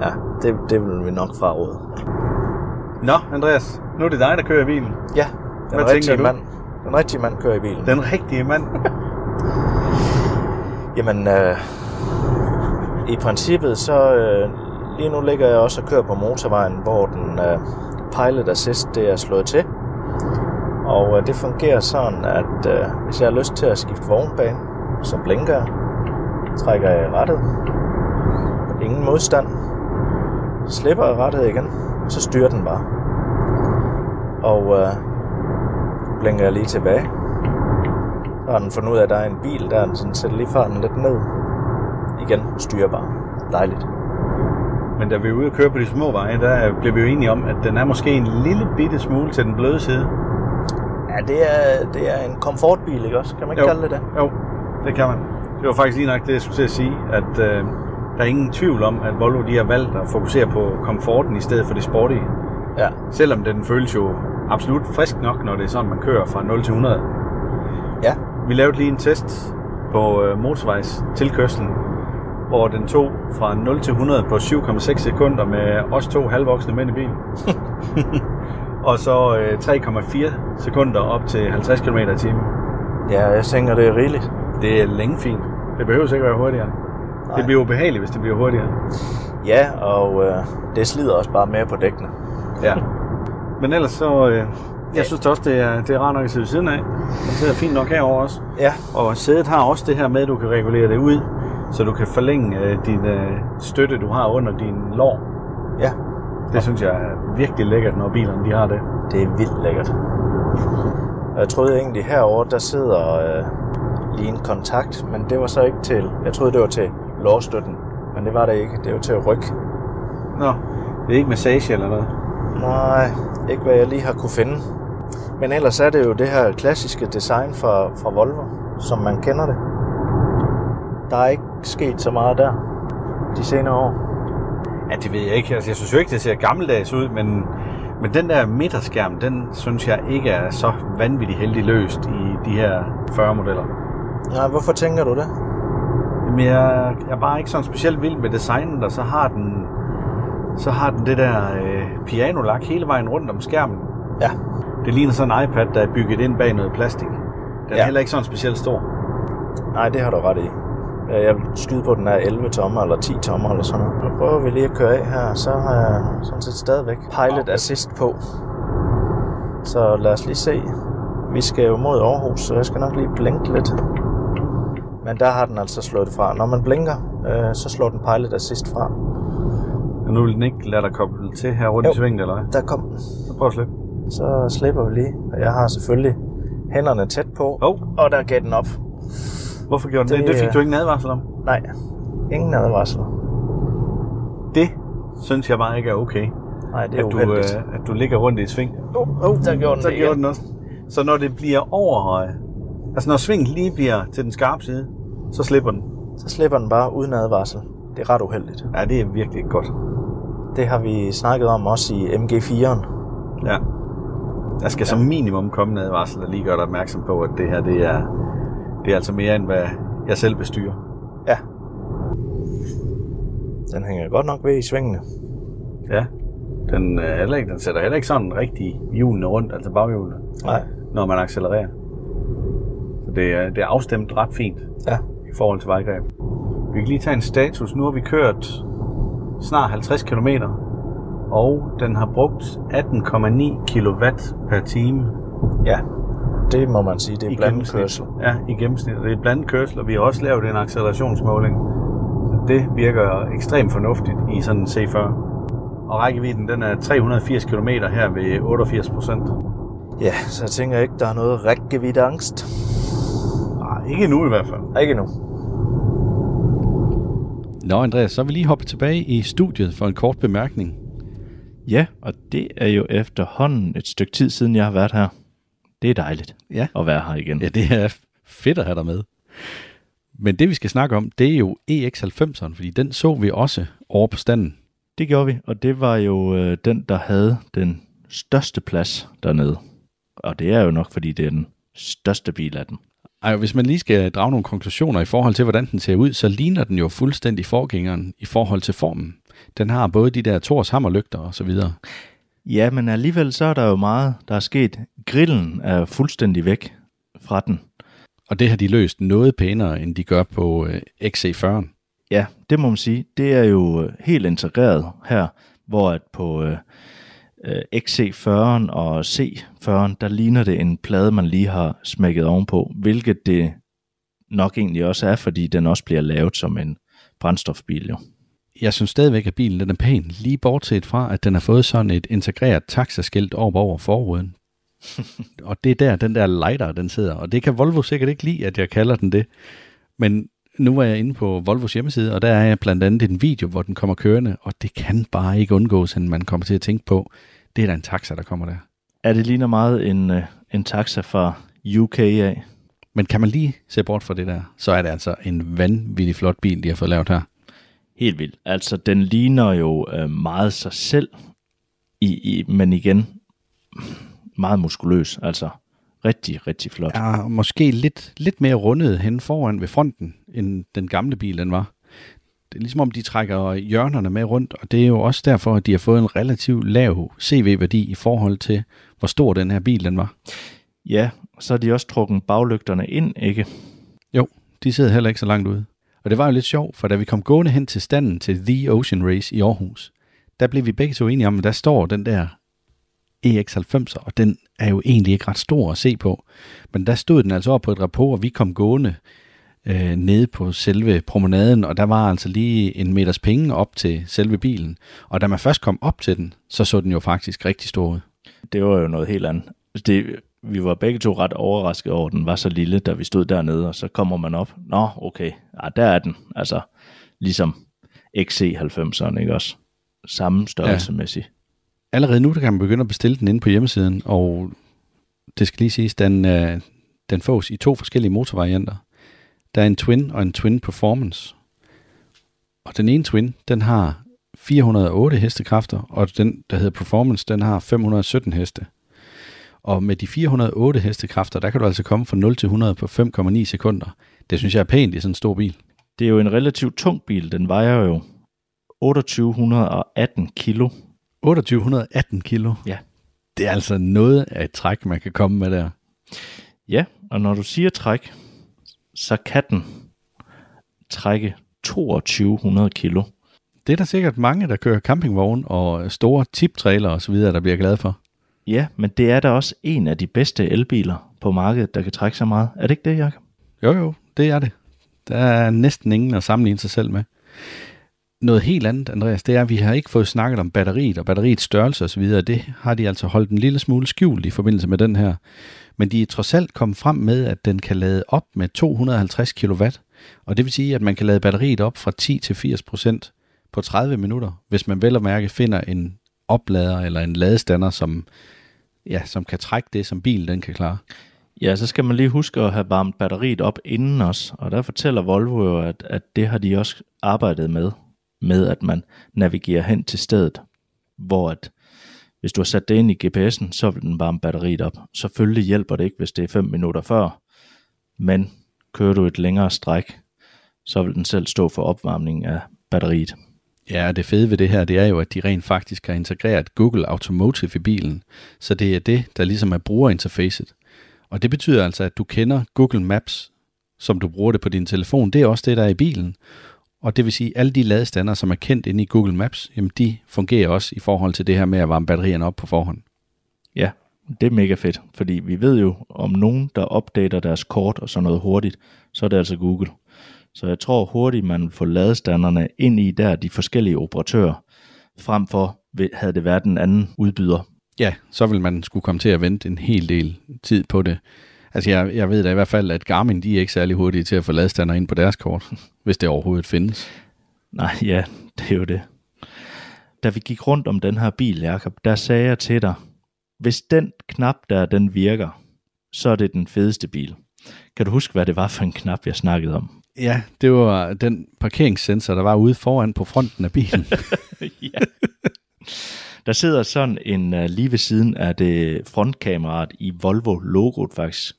S3: ja det, det vil vi nok fraråde.
S2: Nå, Andreas. Nu er det dig, der kører bilen.
S3: Ja, den
S2: Hvad
S3: rigtige
S2: tænker du?
S3: mand. Den rigtige mand kører i bilen.
S2: Den rigtige mand.
S3: Jamen, øh, i princippet så... Øh, lige nu ligger jeg også og kører på motorvejen, hvor den øh, pilot assist det er slået til. Og øh, det fungerer sådan, at øh, hvis jeg har lyst til at skifte vognbane, så blinker jeg, trækker jeg i rettet, ingen modstand, slipper jeg rettet igen, så styrer den bare. Og øh, blinker jeg lige tilbage, så har den fundet ud af, at der er en bil, der er den sådan sætter lige farten lidt ned. Igen, styrbar. Dejligt.
S2: Men da vi er ude og køre på de små veje, der øh, blev vi jo enige om, at den er måske en lille bitte smule til den bløde side.
S3: Ja, det er, det er en komfortbil, ikke også? Kan man ikke jo. kalde det det?
S2: Jo, det kan man. Det var faktisk lige nok det, jeg skulle til at sige, at øh, der er ingen tvivl om, at Volvo de har valgt at fokusere på komforten i stedet for det sportige.
S3: Ja.
S2: Selvom den føles jo absolut frisk nok, når det er sådan, man kører fra 0 til 100.
S3: Ja.
S2: Vi lavede lige en test på øh, motorvejs tilkørslen, hvor den tog fra 0 til 100 på 7,6 sekunder med os to halvvoksne mænd i bilen. og så øh, 3,4 sekunder op til 50 km i timen.
S3: Ja, jeg tænker, det er rigeligt.
S2: Det er længe fint. Det behøver ikke være hurtigere. Nej. Det bliver ubehageligt, hvis det bliver hurtigere.
S3: Ja, og øh, det slider også bare mere på dækkene.
S2: Ja. Men ellers så... Øh, jeg synes da også, det er, det er rart nok at sidde ved siden af. Den sidder fint nok herover også.
S3: Ja.
S2: Og sædet har også det her med, at du kan regulere det ud, så du kan forlænge øh, din øh, støtte, du har under din lår.
S3: Ja.
S2: Det synes jeg er virkelig lækkert, når bilerne de har det.
S3: Det er vildt lækkert. Og Jeg troede egentlig herover der sidder øh, lige en kontakt, men det var så ikke til... Jeg troede, det var til lårstøtten, men det var det ikke. Det var til ryg.
S2: Nå, det er ikke massage eller noget.
S3: Nej, ikke hvad jeg lige har kunne finde. Men ellers er det jo det her klassiske design fra, fra Volvo, som man kender det. Der er ikke sket så meget der de senere år.
S2: Ja, det ved jeg ikke. Altså, jeg synes jo ikke, det ser gammeldags ud, men, men den der midterskærm, den synes jeg ikke er så vanvittigt heldig løst i de her 40-modeller.
S3: Nej, hvorfor tænker du det?
S2: Men jeg, jeg er bare ikke sådan specielt vild med designet, og så har den, så har den det der øh, pianolak hele vejen rundt om skærmen.
S3: Ja.
S2: Det ligner sådan en iPad, der er bygget ind bag noget plastik. Den er
S3: Ja.
S2: ja. heller ikke sådan specielt stor.
S3: Nej, det har du ret i. Øh, Jeg vil skyde på, at den er 11 tommer eller 10 tommer eller sådan noget. Nu prøver vi lige at køre af her, så har jeg sådan set stadigvæk pilot assist på. Så lad os lige se. Vi skal jo mod Aarhus, så jeg skal nok lige blinke lidt. Men der har den altså slået det fra. Når man blinker, øh, så slår den pilot assist fra.
S2: Og nu vil den ikke lade dig koble til her rundt
S3: Jo.
S2: jo. i svingen, eller hvad?
S3: Der kom den.
S2: Så prøv at slippe.
S3: Så slipper vi lige. Og Jeg har selvfølgelig hænderne tæt på.
S2: Hov.
S3: Og der gav den op.
S2: Hvorfor gjorde den det?
S3: Det,
S2: Det, det fik
S3: øh,
S2: du ikke en advarsel om.
S3: Nej, ingen advarsler.
S2: Det synes jeg bare ikke er okay.
S3: Nej, det er
S2: at du,
S3: uheldigt.
S2: øh, at du ligger rundt i et sving. Oh,
S3: oh, der gjorde den
S2: så
S3: det
S2: gjorde
S3: igen.
S2: den også. Så når det bliver over, øh, altså når svinget lige bliver til den skarpe side, så slipper den.
S3: så slipper den bare uden advarsel. Det er ret uheldigt.
S2: Ja, det er virkelig ikke godt.
S3: Det har vi snakket om også i MG4'eren.
S2: Ja. Der skal ja. som minimum komme en advarsel, der lige gør dig opmærksom på, at det her, det er, det er altså mere end hvad jeg selv bestyrer.
S3: Ja. Den hænger godt nok ved i svingene.
S2: Ja. Den, øh, heller ikke, den sætter heller ikke sådan rigtig hjulene rundt, altså baghjulene,
S3: Nej.
S2: når man accelererer. Så det, er, det er afstemt ret fint.
S3: Ja.
S2: i forhold til vejgreb. Vi kan lige tage en status. Nu har vi kørt snart 50 km, og den har brugt 18,9 kW per time
S3: Ja. Det må man sige, det er blandet kørsel.
S2: Ja, i gennemsnit. Og det er blandet kørsel, og vi har også lavet en accelerationsmåling. Så det virker ekstremt fornuftigt i sådan en C40. Og rækkevidden den er 380 km her ved 88 procent.
S3: Ja, så jeg tænker ikke, der er noget rigtig angst.
S2: Nej, Ah, ikke nu i hvert fald.
S3: Ikke nu.
S1: Nå, Andreas, så vil vi lige hoppe tilbage i studiet for en kort bemærkning.
S4: Ja, og det er jo efterhånden et stykke tid siden, jeg har været her.
S3: Det er dejligt
S1: Ja.
S3: at være her igen.
S1: Ja, det er fedt at have dig med. Men det, vi skal snakke om, det er jo EX90'eren, fordi den så vi også over på standen.
S3: Det gjorde vi, og det var jo øh, den, der havde den største plads dernede. Og det er jo nok, fordi det er den største bil af dem.
S1: Ej, og hvis man lige skal drage nogle konklusioner i forhold til, hvordan den ser ud, så ligner den jo fuldstændig forgængeren i forhold til formen. Den har både de der Thors hammerlygter og så videre.
S3: Ja, men alligevel så er der jo meget, der er sket. Grillen er fuldstændig væk fra den.
S1: Og det har de løst noget pænere, end de gør på øh, XC40'en.
S3: Ja, det må man sige. Det er jo øh, helt integreret her, hvor at på øh, øh, XC40'en og C40'en, der ligner det en plade, man lige har smækket ovenpå, hvilket det nok egentlig også er, fordi den også bliver lavet som en brændstofbil jo.
S1: Jeg synes stadigvæk, at bilen den er pæn, lige bortset fra, at den har fået sådan et integreret taxaskilt over over forruden. og det er der, den der lighter, den sidder. Og det kan Volvo sikkert ikke lide, at jeg kalder den det. Men nu er jeg inde på Volvos hjemmeside, og der er jeg blandt andet en video, hvor den kommer kørende, og det kan bare ikke undgås, at man kommer til at tænke på, det er da en taxa, der kommer der.
S3: Er det ligner meget en, øh, en taxa fra UK af?
S1: Men kan man lige se bort fra det der, så er det altså en vanvittig flot bil, de har fået lavet her.
S3: Helt vildt. Altså, den ligner jo øh, meget sig selv, i, i, men igen, meget muskuløs. Altså, rigtig, rigtig flot. Ja.
S1: er måske lidt, lidt mere rundet hen foran ved fronten, end den gamle bil den var. Det er ligesom om, de trækker hjørnerne med rundt, og det er jo også derfor, at de har fået en relativt lav CV-værdi i forhold til, hvor stor den her bil den var.
S3: ja, så har de også trukket baglygterne ind, ikke?
S1: Jo, de sidder heller ikke så langt ude. Og det var jo lidt sjovt, for da vi kom gående hen til standen til The Ocean Race i Aarhus, der blev vi begge to enige om, at der står den der EX90, og den er jo egentlig ikke ret stor at se på. Men der stod den altså op på et rapport, og vi kom gående øh, nede på selve promenaden, og der var altså lige en meters penge op til selve bilen. Og da man først kom op til den, så så den jo faktisk rigtig stor ud.
S3: Det var jo noget helt andet. Altså, Det, vi var begge to ret overrasket over, at den var så lille, da vi stod dernede, og så kommer man op. Nå, okay, ja, der er den. Altså, ligesom XC90'eren, ikke også? Samme størrelsemæssigt.
S1: allerede nu der kan man begynde at bestille den inde på hjemmesiden, og det skal lige siges, den, øh, den fås i to forskellige motorvarianter. Der er en Twin og en Twin Performance. Og den ene Twin, den har 408 hestekræfter, og den, der hedder Performance, den har 517 heste. Og med de 408 hestekræfter, der kan du altså komme fra 0 til 100 på 5,9 sekunder. Det synes jeg er pænt i sådan en stor bil.
S3: Det er jo en relativt tung bil. Den vejer jo 2818 kilo.
S1: 2818 kilo.
S3: Ja.
S1: Det er altså noget af et træk, man kan komme med der.
S3: Ja, og når du siger træk, så kan den trække 2200 kilo.
S1: Det er der sikkert mange, der kører campingvogn og store tiptrailer og så videre, der bliver glade for.
S3: Ja, men det er da også en af de bedste elbiler på markedet, der kan trække så meget. Er det ikke det, Jacob?
S1: Jo jo, det er det. Der er næsten ingen at sammenligne sig selv med. Noget helt andet, Andreas, det er, at vi har ikke fået snakket om batteriet og batteriets størrelse osv. Det har de altså holdt en lille smule skjult i forbindelse med den her. Men de er trods alt kommet frem med, at den kan lade op med 250 kW. Og det vil sige, at man kan lade batteriet op fra 10 til 80 procent på 30 minutter, hvis man vel og mærke finder en oplader eller en ladestander, som, ja, som kan trække det, som bilen den kan klare.
S3: Ja, så skal man lige huske at have varmet batteriet op inden os, og der fortæller Volvo jo, at, at det har de også arbejdet med, med at man navigerer hen til stedet, hvor at, hvis du har sat det ind i GPS'en, så vil den varme batteriet op. Selvfølgelig hjælper det ikke, hvis det er 5 minutter før, men kører du et længere stræk, så vil den selv stå for opvarmningen af batteriet.
S1: Ja, og det fede ved det her, det er jo, at de rent faktisk har integreret Google Automotive i bilen. Så det er det, der ligesom er brugerinterfacet. Og det betyder altså, at du kender Google Maps, som du bruger det på din telefon. Det er også det, der er i bilen. Og det vil sige, at alle de ladestander, som er kendt inde i Google Maps, jamen de fungerer også i forhold til det her med at varme batterierne op på forhånd.
S3: Ja, det er mega fedt, fordi vi ved jo om nogen, der opdater deres kort og sådan noget hurtigt, så er det altså Google. Så jeg tror hurtigt, man vil få ladestanderne ind i der de forskellige operatører, frem for ved- havde det været den anden udbyder.
S1: ja, så vil man skulle komme til at vente en hel del tid på det. Altså jeg, jeg ved da i hvert fald, at Garmin de er ikke særlig hurtige til at få ladestander ind på deres kort, hvis det overhovedet findes.
S3: Nej, ja, det er jo det. Da vi gik rundt om den her bil, Jacob, der sagde jeg til dig, hvis den knap der, den virker, så er det den fedeste bil. Kan du huske, hvad det var for en knap, jeg snakkede om?
S1: Ja, det var den parkeringssensor, der var ude foran på fronten af bilen.
S3: ja. Der sidder sådan en øh, lige ved siden af det frontkameraet i Volvo-logoet faktisk.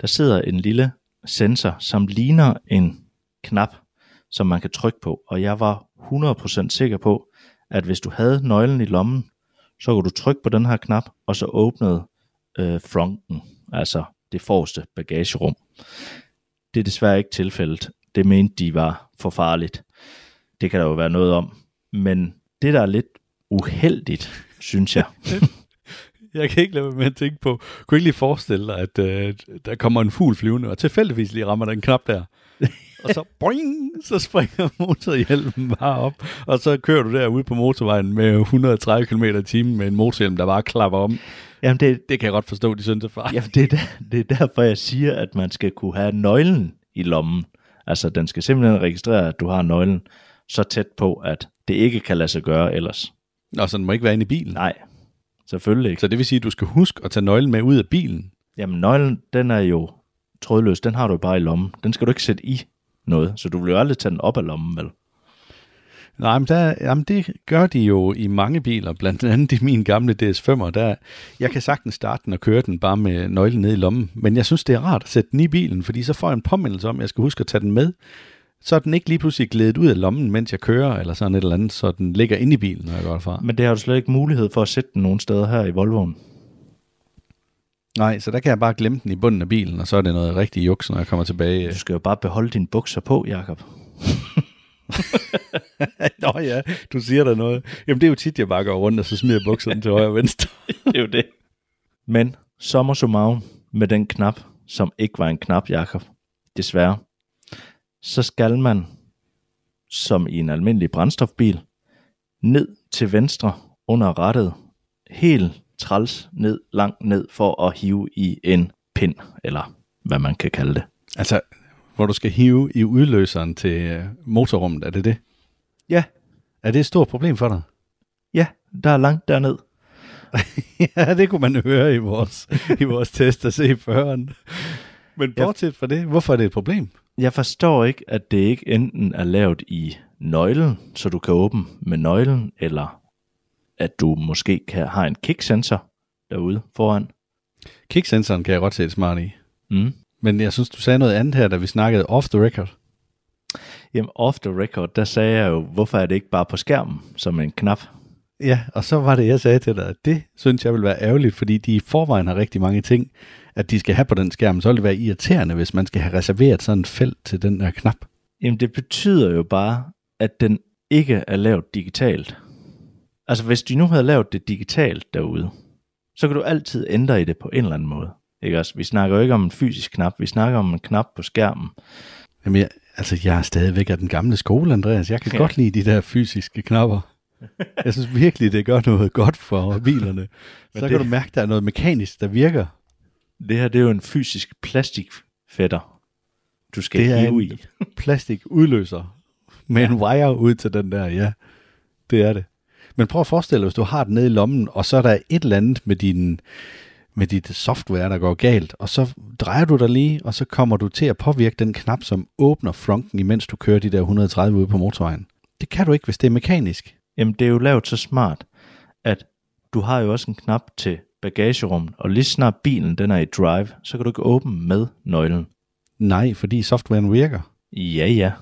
S3: Der sidder en lille sensor, som ligner en knap, som man kan trykke på. Og jeg var 100% sikker på, at hvis du havde nøglen i lommen, så kunne du trykke på den her knap, og så åbnede øh, fronten, altså det forreste bagagerum. Det er desværre ikke tilfældet. Det mente de var for farligt. Det kan der jo være noget om. Men det, der er lidt uheldigt, synes jeg.
S1: jeg kan ikke lade være med at tænke på, kunne ikke lige forestille dig, at øh, der kommer en fugl flyvende, og tilfældigvis lige rammer den knap der. og så boing, så springer motorhjelmen bare op, og så kører du derude på motorvejen med 130 km i timen med en motorhjelm, der bare klapper om.
S3: Jamen, det,
S1: Det kan jeg godt forstå, de synes er far.
S3: Jamen, det er, der, det er derfor, jeg siger, at man skal kunne have nøglen i lommen. Altså, den skal simpelthen registrere, at du har nøglen så tæt på, at det ikke kan lade sig gøre ellers.
S1: Og så den må ikke være inde i bilen.
S3: Nej, selvfølgelig ikke.
S1: Så det vil sige, at du skal huske at tage nøglen med ud af bilen.
S3: Jamen, nøglen, den er jo trådløs. Den har du jo bare i lommen. Den skal du ikke sætte i noget, så du vil jo aldrig tage den op af lommen, vel?
S1: Nej, men der, jamen det gør de jo i mange biler, blandt andet i min gamle DS5'er. Der, jeg kan sagtens starte den og køre den bare med nøglen ned i lommen, men jeg synes, det er rart at sætte den i bilen, fordi så får jeg en påmindelse om, at jeg skal huske at tage den med. Så er den ikke lige pludselig glædet ud af lommen, mens jeg kører, eller sådan et eller andet, så den ligger inde i bilen, når jeg går derfra.
S3: Men det har du slet ikke mulighed for at sætte den nogen steder her i Volvoen.
S1: Nej, så der kan jeg bare glemme den i bunden af bilen, og så er det noget rigtig juks, når jeg kommer tilbage.
S3: Du skal jo bare beholde dine bukser på, Jakob.
S1: Nå ja, du siger der noget. Jamen det er jo tit, jeg bare går rundt, og så smider jeg bukserne til højre og venstre.
S3: det er jo det. Men sommer summarum med den knap, som ikke var en knap, Jakob, desværre, så skal man, som i en almindelig brændstofbil, ned til venstre under rattet, helt træls ned, langt ned for at hive i en pind, eller hvad man kan kalde det.
S1: Altså, hvor du skal hive i udløseren til øh, motorrummet, er det det?
S3: Ja,
S1: Er det et stort problem for dig?
S3: ja, der er langt derned.
S1: ja, det kunne man høre i vores, i vores test at se i 40'eren. Men
S3: Ja.
S1: bortset fra det, hvorfor er det et problem?
S3: Jeg forstår ikke, at det ikke enten er lavet i nøglen, så du kan åbne med nøglen, eller at du måske kan have en kicksensor derude foran.
S1: Kicksensoren kan jeg godt se det smart i.
S3: Mm.
S1: Men jeg synes, du sagde noget andet her, da vi snakkede off the record.
S3: Jamen, off the record, der sagde jeg jo, hvorfor er det ikke bare på skærmen, som en knap?
S1: Ja, og så var det, jeg sagde til dig, at det synes jeg vil være ærgerligt, fordi de i forvejen har rigtig mange ting, at de skal have på den skærm. Så vil det være irriterende, hvis man skal have reserveret sådan et felt til den der knap.
S3: Jamen, det betyder jo bare, at den ikke er lavet digitalt. Altså, hvis de nu havde lavet det digitalt derude, så kan du altid ændre i det på en eller anden måde. Ikke også? Vi snakker jo ikke om en fysisk knap, vi snakker om en knap på skærmen,
S1: Jamen, jeg, altså, jeg er stadigvæk af den gamle skole, Andreas. Jeg kan
S3: Ja.
S1: ja. godt lide de der fysiske knapper. Jeg synes virkelig, det gør noget godt for bilerne. Så
S3: det-
S1: kan du mærke, der er noget mekanisk, der virker.
S3: Det her, det er jo en fysisk plastikfætter, du skal
S1: Det er
S3: hive
S1: en-
S3: i.
S1: Plastikudløser med en wire ud til den der, ja. Det er det. Men prøv at forestille dig, hvis du har den nede i lommen, og så er der et eller andet med, din, med dit software, der går galt, og så drejer du dig lige, og så kommer du til at påvirke den knap, som åbner fronten, imens du kører de der 130 ude på motorvejen. Det kan du ikke, hvis det er mekanisk.
S3: Jamen, det er jo lavet så smart, at du har jo også en knap til bagagerummet, og lige snart bilen den er i drive, så kan du ikke åbne med nøglen.
S1: Nej, fordi softwaren virker.
S3: Ja, ja.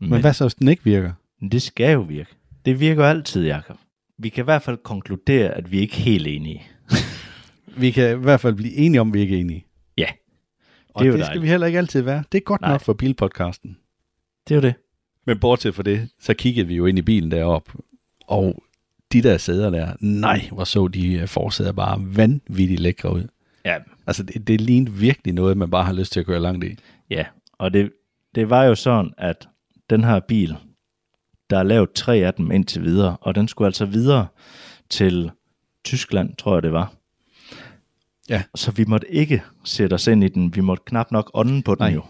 S1: Men, Men hvad så, hvis den ikke virker?
S3: Men det skal jo virke. Det virker jo altid, Jacob. Vi kan i hvert fald konkludere, at vi ikke er helt enige.
S1: Vi kan i hvert fald blive enige om, vi ikke er enige.
S3: Ja,
S1: Og
S3: Det
S1: det,
S3: er jo
S1: det skal
S3: dejligt.
S1: vi heller ikke altid være. Det er godt
S3: Nej.
S1: Nej. nok for bilpodcasten.
S3: det er jo det.
S1: Men bortset fra det, så kiggede vi jo ind i bilen deroppe, og de der sæder der, nej, hvor så de øh, forsæder bare vanvittigt lækre ud.
S3: Ja,
S1: Altså, det, det lignede virkelig noget, man bare har lyst til at køre langt i.
S3: Ja, og det, det var jo sådan, at den her bil, der er lavet tre af dem indtil videre, og den skulle altså videre til Tyskland, tror jeg det var.
S1: Ja.
S3: Så vi måtte ikke sætte os ind i den. Vi måtte knap nok ånden på den
S1: Nej.
S3: jo.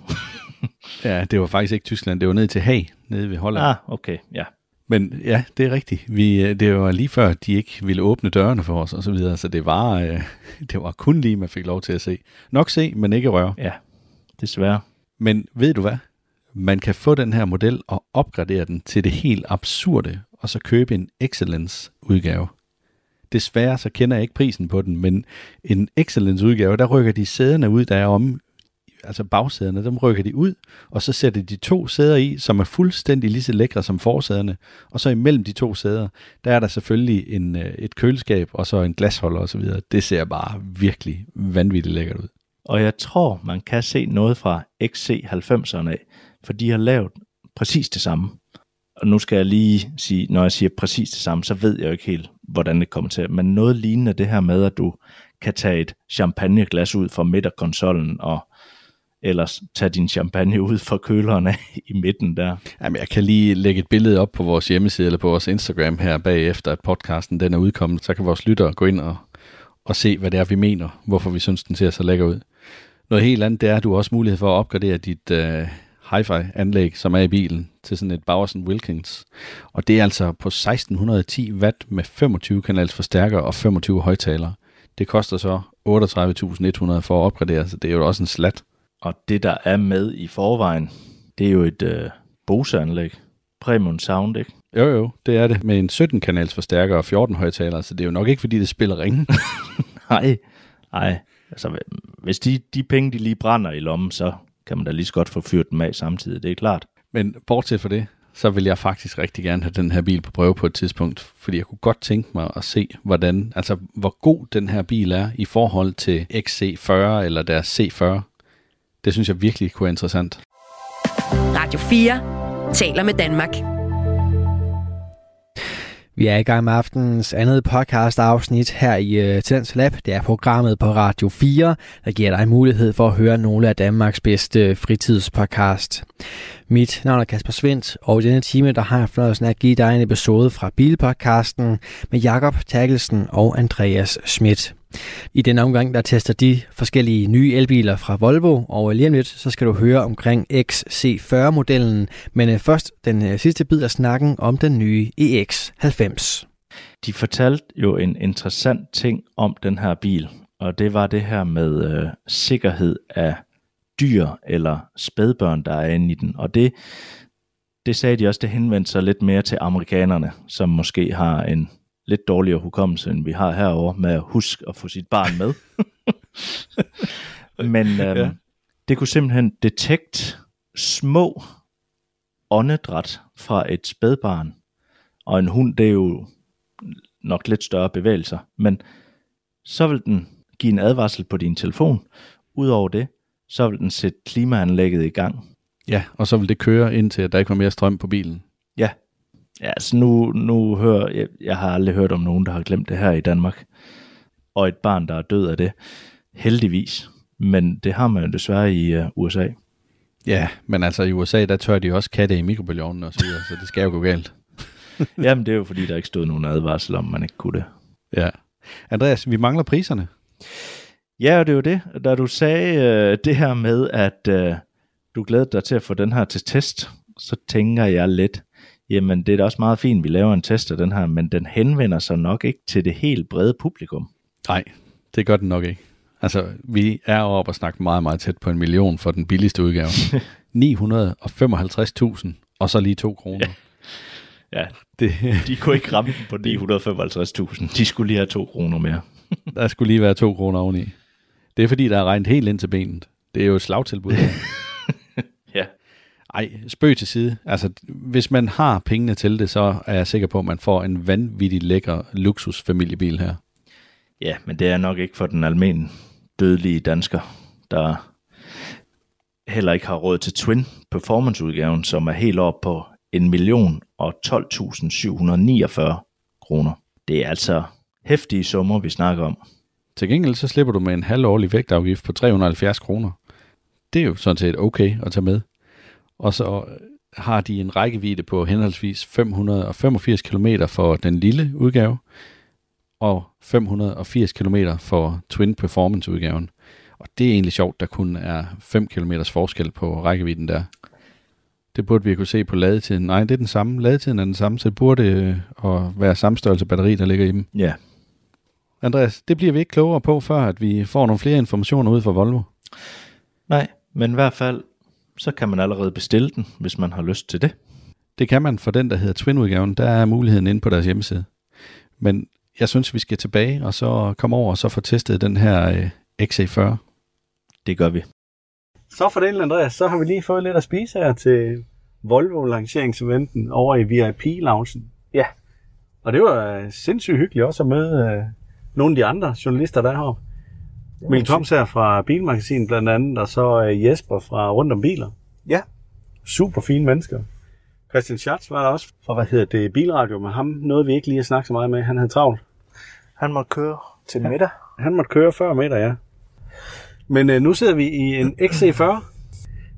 S1: Ja, det var faktisk ikke Tyskland, det var ned til Haag, nede ved Holland.
S3: Ah, okay, ja.
S1: Men ja, det er rigtigt. Vi, øh, det var lige før, de ikke ville åbne dørene for os og så videre, så det var, øh, det var kun lige, man fik lov til at se. Nok se, men ikke røre.
S3: Ja, desværre.
S1: Men ved du hvad? Man kan få den her model og opgradere den til det helt absurde, og så købe en Excellence-udgave. Desværre så kender jeg ikke prisen på den, men en Excellence-udgave, der rykker de sæderne ud, der er om, altså bagsæderne, dem rykker de ud, og så sætter de to sæder i, som er fuldstændig lige så lækre som forsæderne. Og så imellem de to sæder, der er der selvfølgelig en, øh, et køleskab, og så en glasholder osv. Det ser bare virkelig vanvittigt lækkert ud.
S3: Og jeg tror, man kan se noget fra XC90'erne af, for de har lavet præcis det samme. Og nu skal jeg lige sige, når jeg siger præcis det samme, så ved jeg jo ikke helt, hvordan det kommer til. Men noget lignende det her med, at du kan tage et champagneglas ud fra midterkonsollen, og ellers tage din champagne ud fra køleren af i midten der.
S1: Jamen, jeg kan lige lægge et billede op på vores hjemmeside eller på vores Instagram her bagefter, at podcasten den er udkommet. Så kan vores lyttere gå ind og, og se, hvad det er, vi mener, hvorfor vi synes, den ser så lækker ud. Noget helt andet, det er, at du har også mulighed for at opgradere dit øh, hi-fi-anlæg, som er i bilen, til sådan et Bowerson Wilkins. Og det er altså på 1610 watt med 25 kanals forstærker og 25 højtalere. Det koster så 38.100 for at opgradere, så det er jo også en slat.
S3: Og det, der er med i forvejen, det er jo et øh, Bose-anlæg. Premium Sound, ikke?
S1: Jo jo, det er det. Med en 17-kanals forstærker og 14 højtalere, så det er jo nok ikke, fordi det spiller ringe.
S3: Nej, nej. Altså, hvis de, de penge, de lige brænder i lommen, så kan man da lige så godt få fyret dem af samtidig, det er klart.
S1: Men bortset fra det, så vil jeg faktisk rigtig gerne have den her bil på prøve på et tidspunkt, fordi jeg kunne godt tænke mig at se, hvordan, altså hvor god den her bil er i forhold til XC40 eller deres C40. Det synes jeg virkelig kunne være interessant.
S7: Radio 4 taler med Danmark.
S8: Vi er i gang med aftenens andet podcast afsnit her i øh, Tidens Lab. Det er programmet på Radio 4, der giver dig mulighed for at høre nogle af Danmarks bedste øh, fritidspodcast. Mit navn er Kasper Svendt, og i denne time der har jeg fornøjelsen af at give dig en episode fra Bilpodcasten med Jakob Terkelsen og Andreas Schmidt. I den omgang, der tester de forskellige nye elbiler fra Volvo, og lige om lidt, så skal du høre omkring XC40-modellen, men øh, først den øh, sidste bid af snakken om den nye E EX90.
S3: De fortalte jo en interessant ting om den her bil, og det var det her med øh, sikkerhed af dyr eller spædbørn, der er inde i den. Og det, det sagde de også, det henvendte sig lidt mere til amerikanerne, som måske har en lidt dårligere hukommelse, end vi har herover med at huske at få sit barn med. Men øhm, ja. det kunne simpelthen detekte små åndedræt fra et spædbarn. Og en hund, det er jo nok lidt større bevægelser. Men så vil den give en advarsel på din telefon. Udover det, så vil den sætte klimaanlægget i gang.
S1: Ja, og så vil det køre indtil, at der ikke var mere strøm på bilen.
S3: Ja. Ja, altså nu, nu hører, jeg, jeg har aldrig hørt om nogen, der har glemt det her i Danmark. Og et barn, der er død af det. Heldigvis. Men det har man jo desværre i uh, USA.
S1: Ja, men altså i USA, der tør de også katte i mikrobølgeovnen og så videre, så det skal jo gå galt.
S3: Jamen det er jo fordi, der ikke stod nogen advarsel om, man ikke kunne det.
S1: Ja. Andreas, vi mangler priserne.
S3: Ja, og det er jo det. Da du sagde øh, det her med, at øh, du glæder dig til at få den her til test, så tænker jeg lidt, jamen det er da også meget fint, vi laver en test af den her, men den henvender sig nok ikke til det helt brede publikum.
S1: Nej, det gør den nok ikke. Altså, vi er oppe og snakke meget, meget tæt på en million for den billigste udgave. 955.000, og så lige to kroner. Ja.
S3: Ja, det, de kunne ikke ramme den på 955.000. De skulle lige have to kroner mere.
S1: Der skulle lige være to kroner oveni. Det er fordi, der er regnet helt ind til benet. Det er jo et slagtilbud.
S3: Ja.
S1: Ej, spøg til side. Altså, hvis man har pengene til det, så er jeg sikker på, at man får en vanvittig lækker luksusfamiliebil her.
S3: Ja, men det er nok ikke for den almindelige dødelige dansker, der heller ikke har råd til Twin Performance-udgaven, som er helt op på 1.012.749 kroner. Det er altså hæftige summer, vi snakker om.
S1: Til gengæld så slipper du med en halvårlig vægtafgift på 370 kroner. Det er jo sådan set okay at tage med. Og så øh, har de en rækkevidde på henholdsvis 585 km for den lille udgave, og 580 km for Twin Performance udgaven. Og det er egentlig sjovt, der kun er 5 km forskel på rækkevidden der. Det burde vi kunne se på ladetiden. Nej, det er den samme. Ladetiden er den samme, så det burde øh, at være samme størrelse batteri, der ligger i dem.
S3: Ja.
S1: Andreas, det bliver vi ikke klogere på, før at vi får nogle flere informationer ud fra Volvo.
S3: Nej, men i hvert fald, så kan man allerede bestille den, hvis man har lyst til det.
S1: Det kan man for den, der hedder Twin-udgaven. Der er muligheden inde på deres hjemmeside. Men jeg synes, vi skal tilbage og så komme over og så få testet den her øh, XC40.
S3: Det gør vi.
S2: Så for den, Andreas, så har vi lige fået lidt at spise her til Volvo-lanceringseventen over i VIP-loungen. Ja. Og det var øh, sindssygt hyggeligt også at møde øh, nogle af de andre journalister, der er heroppe. Mikkel Toms her fra Bilmagasinet blandt andet, og så øh, Jesper fra Rundt om Biler.
S9: Ja.
S2: Super fine mennesker. Christian Schatz var der også fra, hvad hedder det, Bilradio, men ham nåede vi ikke lige at snakke så meget med. Han havde travlt.
S10: Han må køre til middag.
S2: Han måtte køre før meter, ja. Men øh, nu sidder vi i en XC40.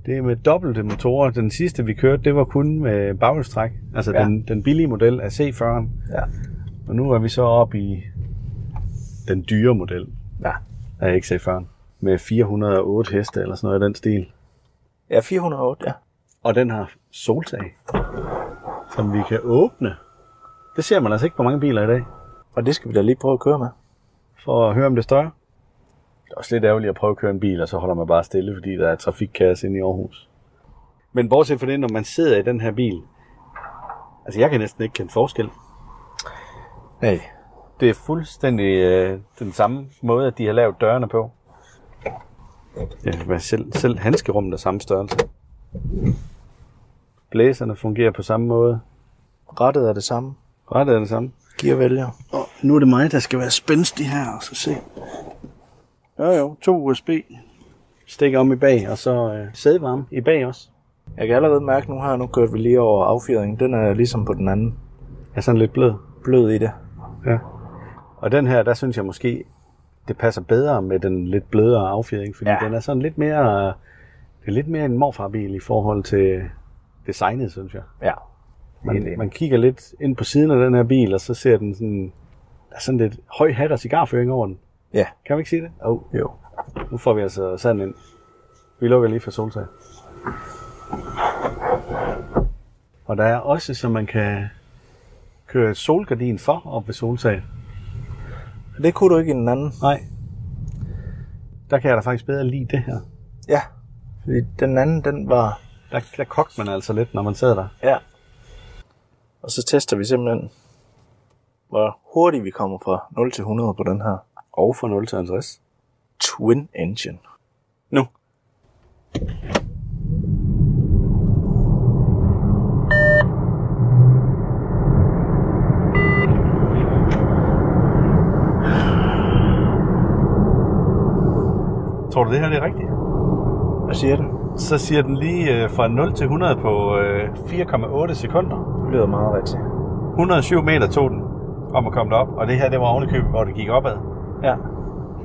S2: Det er med dobbelte motorer. Den sidste, vi kørte, det var kun med baghjulstræk. Altså ja.
S10: Ja.
S2: den, den billige model af C40'en.
S10: Ja.
S2: Og nu er vi så oppe i den dyre model
S10: Ja.
S2: af XC40'en. Med 408 heste eller sådan noget i den stil.
S10: Ja, 408, ja.
S2: Og den har soltag, som vi kan åbne. Det ser man altså ikke på mange biler i dag.
S10: Og det skal vi da lige prøve at køre med.
S2: for at høre, om det støjer. Det er også lidt ærgerligt at prøve at køre en bil, og så holder man bare stille, fordi der er trafikkaos inde i Aarhus. Men bortset fra det, når man sidder i den her bil, altså jeg kan næsten ikke kende forskel.
S10: Nej.
S9: Det er fuldstændig øh, den samme måde, at de har lavet dørene på.
S2: Ja, men selv, selv handskerummet er samme størrelse. Blæserne fungerer på samme måde.
S10: Rettet er det samme.
S2: Rettet er det samme.
S10: Gear vælger.
S2: Nu er det mig, der skal være spændstig her, og så se. Jo jo, to USB. Stik om i bag, og så øh, sædevarme i bag også.
S10: Jeg kan allerede mærke nu her, nu kørte vi lige over affjedringen. Den er ligesom på den anden.
S2: Jeg er sådan lidt blød.
S10: Blød i det.
S2: Og den her, der synes jeg måske, det passer bedre med den lidt blødere affjedring, fordi ja.
S10: Ja.
S2: den er sådan lidt mere, det er lidt mere en morfarbil i forhold til designet, synes jeg.
S10: Ja. Helt
S2: Man,
S10: enig.
S2: man kigger lidt ind på siden af den her bil, og så ser den sådan, der er sådan lidt høj hat og cigarføring over den.
S10: Ja.
S2: Kan vi ikke sige det? Oh,
S10: Jo.
S2: nu får vi altså sand ind. Vi lukker lige for soltag. Og der er også, så man kan køre et solgardin for op ved soltag.
S10: Det kunne du ikke i den anden.
S2: Nej. Der kan jeg da faktisk bedre lide det her.
S10: Ja. Fordi den anden, den var...
S2: Der, der kogte man altså lidt, når man sad der.
S10: Ja. Og så tester vi simpelthen, hvor hurtigt vi kommer fra 0 til 100 på den her
S2: Og fra 0 til 50.
S10: twin engine.
S2: Nu.
S9: Tror du, det her det er rigtigt?
S10: Hvad siger den?
S9: Så siger den lige øh, fra 0 til 100 på øh, 4,8 sekunder.
S10: Det lyder meget rigtigt.
S9: 107 meter tog den om at komme derop, og det her det var ovenikøbet, hvor det gik opad.
S10: Ja.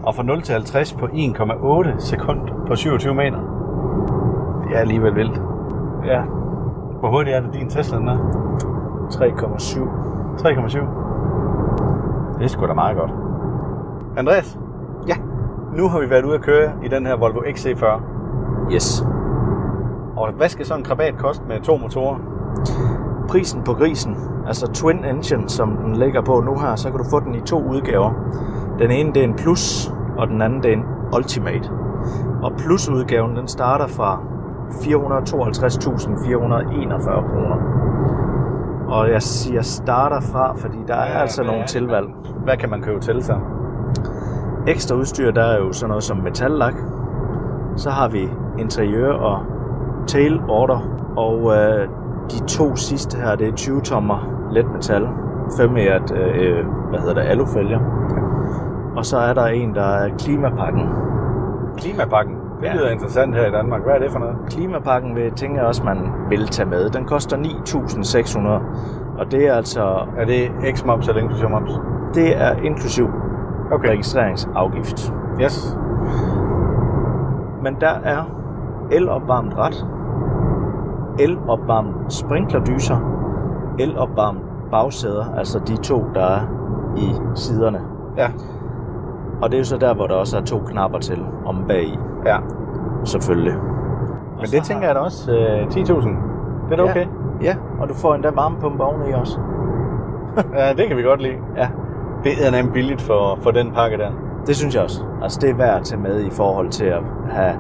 S9: Og fra 0 til 50 på 1,8 sekunder på 27 meter. Det er alligevel vildt.
S10: Ja.
S9: Hvor hurtigt er det din Tesla, den er?
S10: 3,7.
S9: 3,7. Det er sgu da meget godt. Andreas?
S10: Ja.
S9: Nu har vi været ude at køre i den her Volvo XC40.
S10: Yes.
S9: Og hvad skal sådan en krabat koste med to motorer?
S10: Prisen på grisen, altså twin engine, som den ligger på nu her, så kan du få den i to udgaver. Den ene det er en plus, og den anden det er en ultimate. Og plusudgaven den starter fra 452.441 kroner. Og jeg siger starter fra, fordi der er
S9: Ja,
S10: ja, altså
S9: hvad
S10: nogle
S9: er det?
S10: tilvalg.
S9: Hvad kan man købe til sig?
S10: Ekstra udstyr, der er jo sådan noget som metallak. Så har vi interiør og tail order. Og øh, de to sidste her, det er 20 tommer let metal. 5 ert, øh, hvad hedder det, alufælger. Og så er der en, der er klimapakken.
S9: Klimapakken. Det
S10: Ja.
S9: lyder interessant her i Danmark. Hvad er det for noget?
S10: Klimapakken vil jeg tænker jeg også, man vil tage med. Den koster 9.600. Og det er altså,
S9: Er det X-moms eller inklusion moms?
S10: det er inklusiv
S9: Okay.
S10: registreringsafgift.
S9: Yes.
S10: Men der er elopvarmet ret, elopvarmet sprinklerdyser, elopvarmet bagsæder, altså de to, der er i siderne.
S9: Ja.
S10: Og det er jo så der, hvor der også er to knapper til om bag i,
S9: Ja.
S10: selvfølgelig.
S9: Men det tænker jeg da også øh, 10.000.
S11: Det er da okay.
S10: Ja, og du får endda varmepumpe oveni også.
S2: Ja, det kan vi godt lide.
S10: Ja.
S2: Det er nemt billigt for, for den pakke der.
S10: Det synes jeg også. Altså, det er værd at tage med i forhold til at have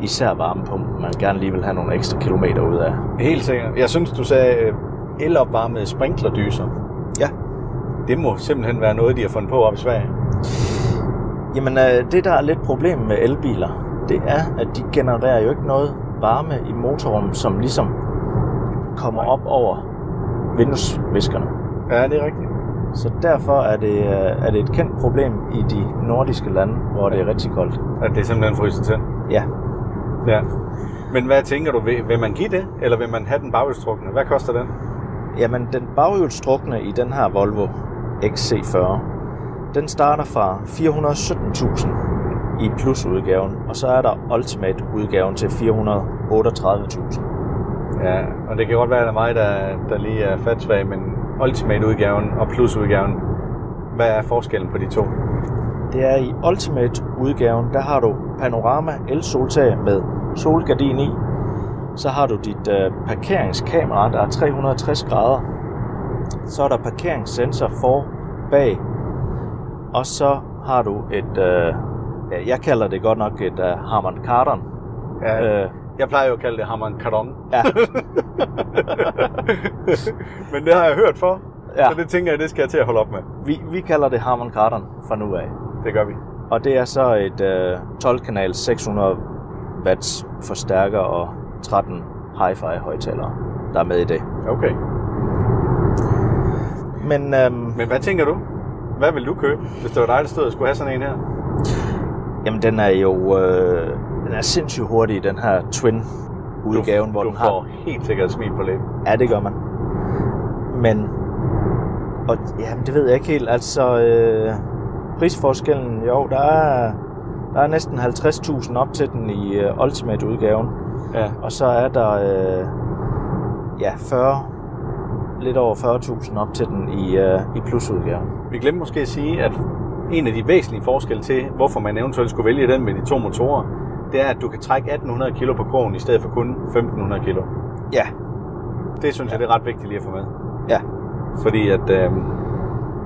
S10: især varmepumpen. Man gerne lige vil have nogle ekstra kilometer ud af.
S2: Helt sikkert. Jeg synes, du sagde øh, elopvarmede sprinklerdyser.
S10: Ja.
S2: Det må simpelthen være noget, de har fundet på op i Sverige.
S10: Jamen, øh, det der er lidt problem med elbiler, det er, at de genererer jo ikke noget varme i motorrummet, som ligesom kommer op over vinduesviskerne.
S2: Ja, det er rigtigt.
S10: Så derfor er det, øh, er det et kendt problem i de nordiske lande, hvor det er rigtig koldt.
S2: At det simpelthen fryser til.
S10: Ja,
S2: Ja. Men hvad tænker du? Vil, vil man give det, eller vil man have den baghjulstrukne? Hvad koster den?
S10: Jamen, den baghjulstrukne i den her Volvo XC40, den starter fra 417.000 i plusudgaven, og så er der Ultimate-udgaven til 438.000.
S2: Ja, og det kan godt være, at det er mig, der, der lige er fatsvag, men Ultimate-udgaven og Plus-udgaven, hvad er forskellen på de to?
S10: Det er i Ultimate-udgaven, der har du panorama el-soltag med solgardin i. Så har du dit øh, parkeringskamera, der er 360 grader. Så er der parkeringssensor for, bag. Og så har du et, øh, ja, jeg kalder det godt nok et øh, Harman Kardon.
S2: Ja,
S10: Øh,
S2: jeg plejer jo at kalde det hammeren kardon.
S10: ja,
S2: men det har jeg hørt for,
S10: Ja.
S2: ja. så det tænker jeg, det skal jeg til at holde op med.
S10: vi, vi kalder det Harman Kardon fra nu af.
S2: Det gør vi.
S10: Og det er så et øh, 12-kanal 600 watts forstærker og 13 hi-fi højtalere, der er med i det.
S2: Okay.
S10: Men øhm,
S2: Men hvad tænker du? Hvad vil du købe, hvis det var dig, der stod og skulle have sådan en her?
S10: jamen, den er jo øh, den er sindssygt hurtig, den her twin udgaven,
S2: du,
S10: hvor
S2: du
S10: den
S2: får
S10: har...
S2: helt sikkert et smil på læben.
S10: Ja, det gør man. Men... Og jamen, det ved jeg ikke helt. Altså, øh, prisforskellen, jo, der er, der er næsten 50.000 op til den i øh, Ultimate-udgaven.
S2: Ja.
S10: Og så er der øh, ja, 40, lidt over 40.000 op til den i, øh, i plusudgaven.
S2: Vi glemte måske at sige, at en af de væsentlige forskelle til, hvorfor man eventuelt skulle vælge den med de to motorer, det er, at du kan trække 1800 kilo på krogen i stedet for kun 1500 kilo.
S10: Ja,
S2: Det synes ja. jeg, det er ret vigtigt lige at få med.
S10: ja,
S2: Fordi at, øh,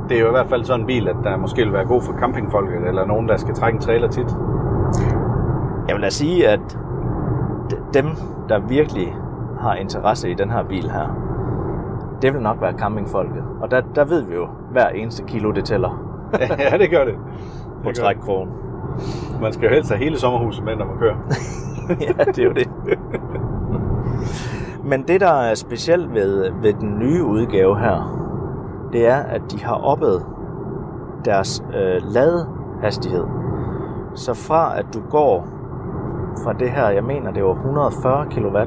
S2: det er jo i hvert fald sådan en bil, at der måske vil være god for campingfolket, eller nogen, der skal trække en trailer tit.
S10: Jeg vil da sige, at d- dem, der virkelig har interesse i den her bil her, det vil nok være campingfolket. Og der, der ved vi jo, hver eneste kilo, det tæller
S2: ja, det gør det.
S10: på
S2: Det gør det.
S10: trækkrogen.
S2: Man skal jo helst have hele sommerhuset med, når man kører.
S10: ja, det er jo det. Men det, der er specielt ved, ved den nye udgave her, det er, at de har oppet deres øh, ladehastighed. Så fra at du går fra det her, jeg mener det var 140 kW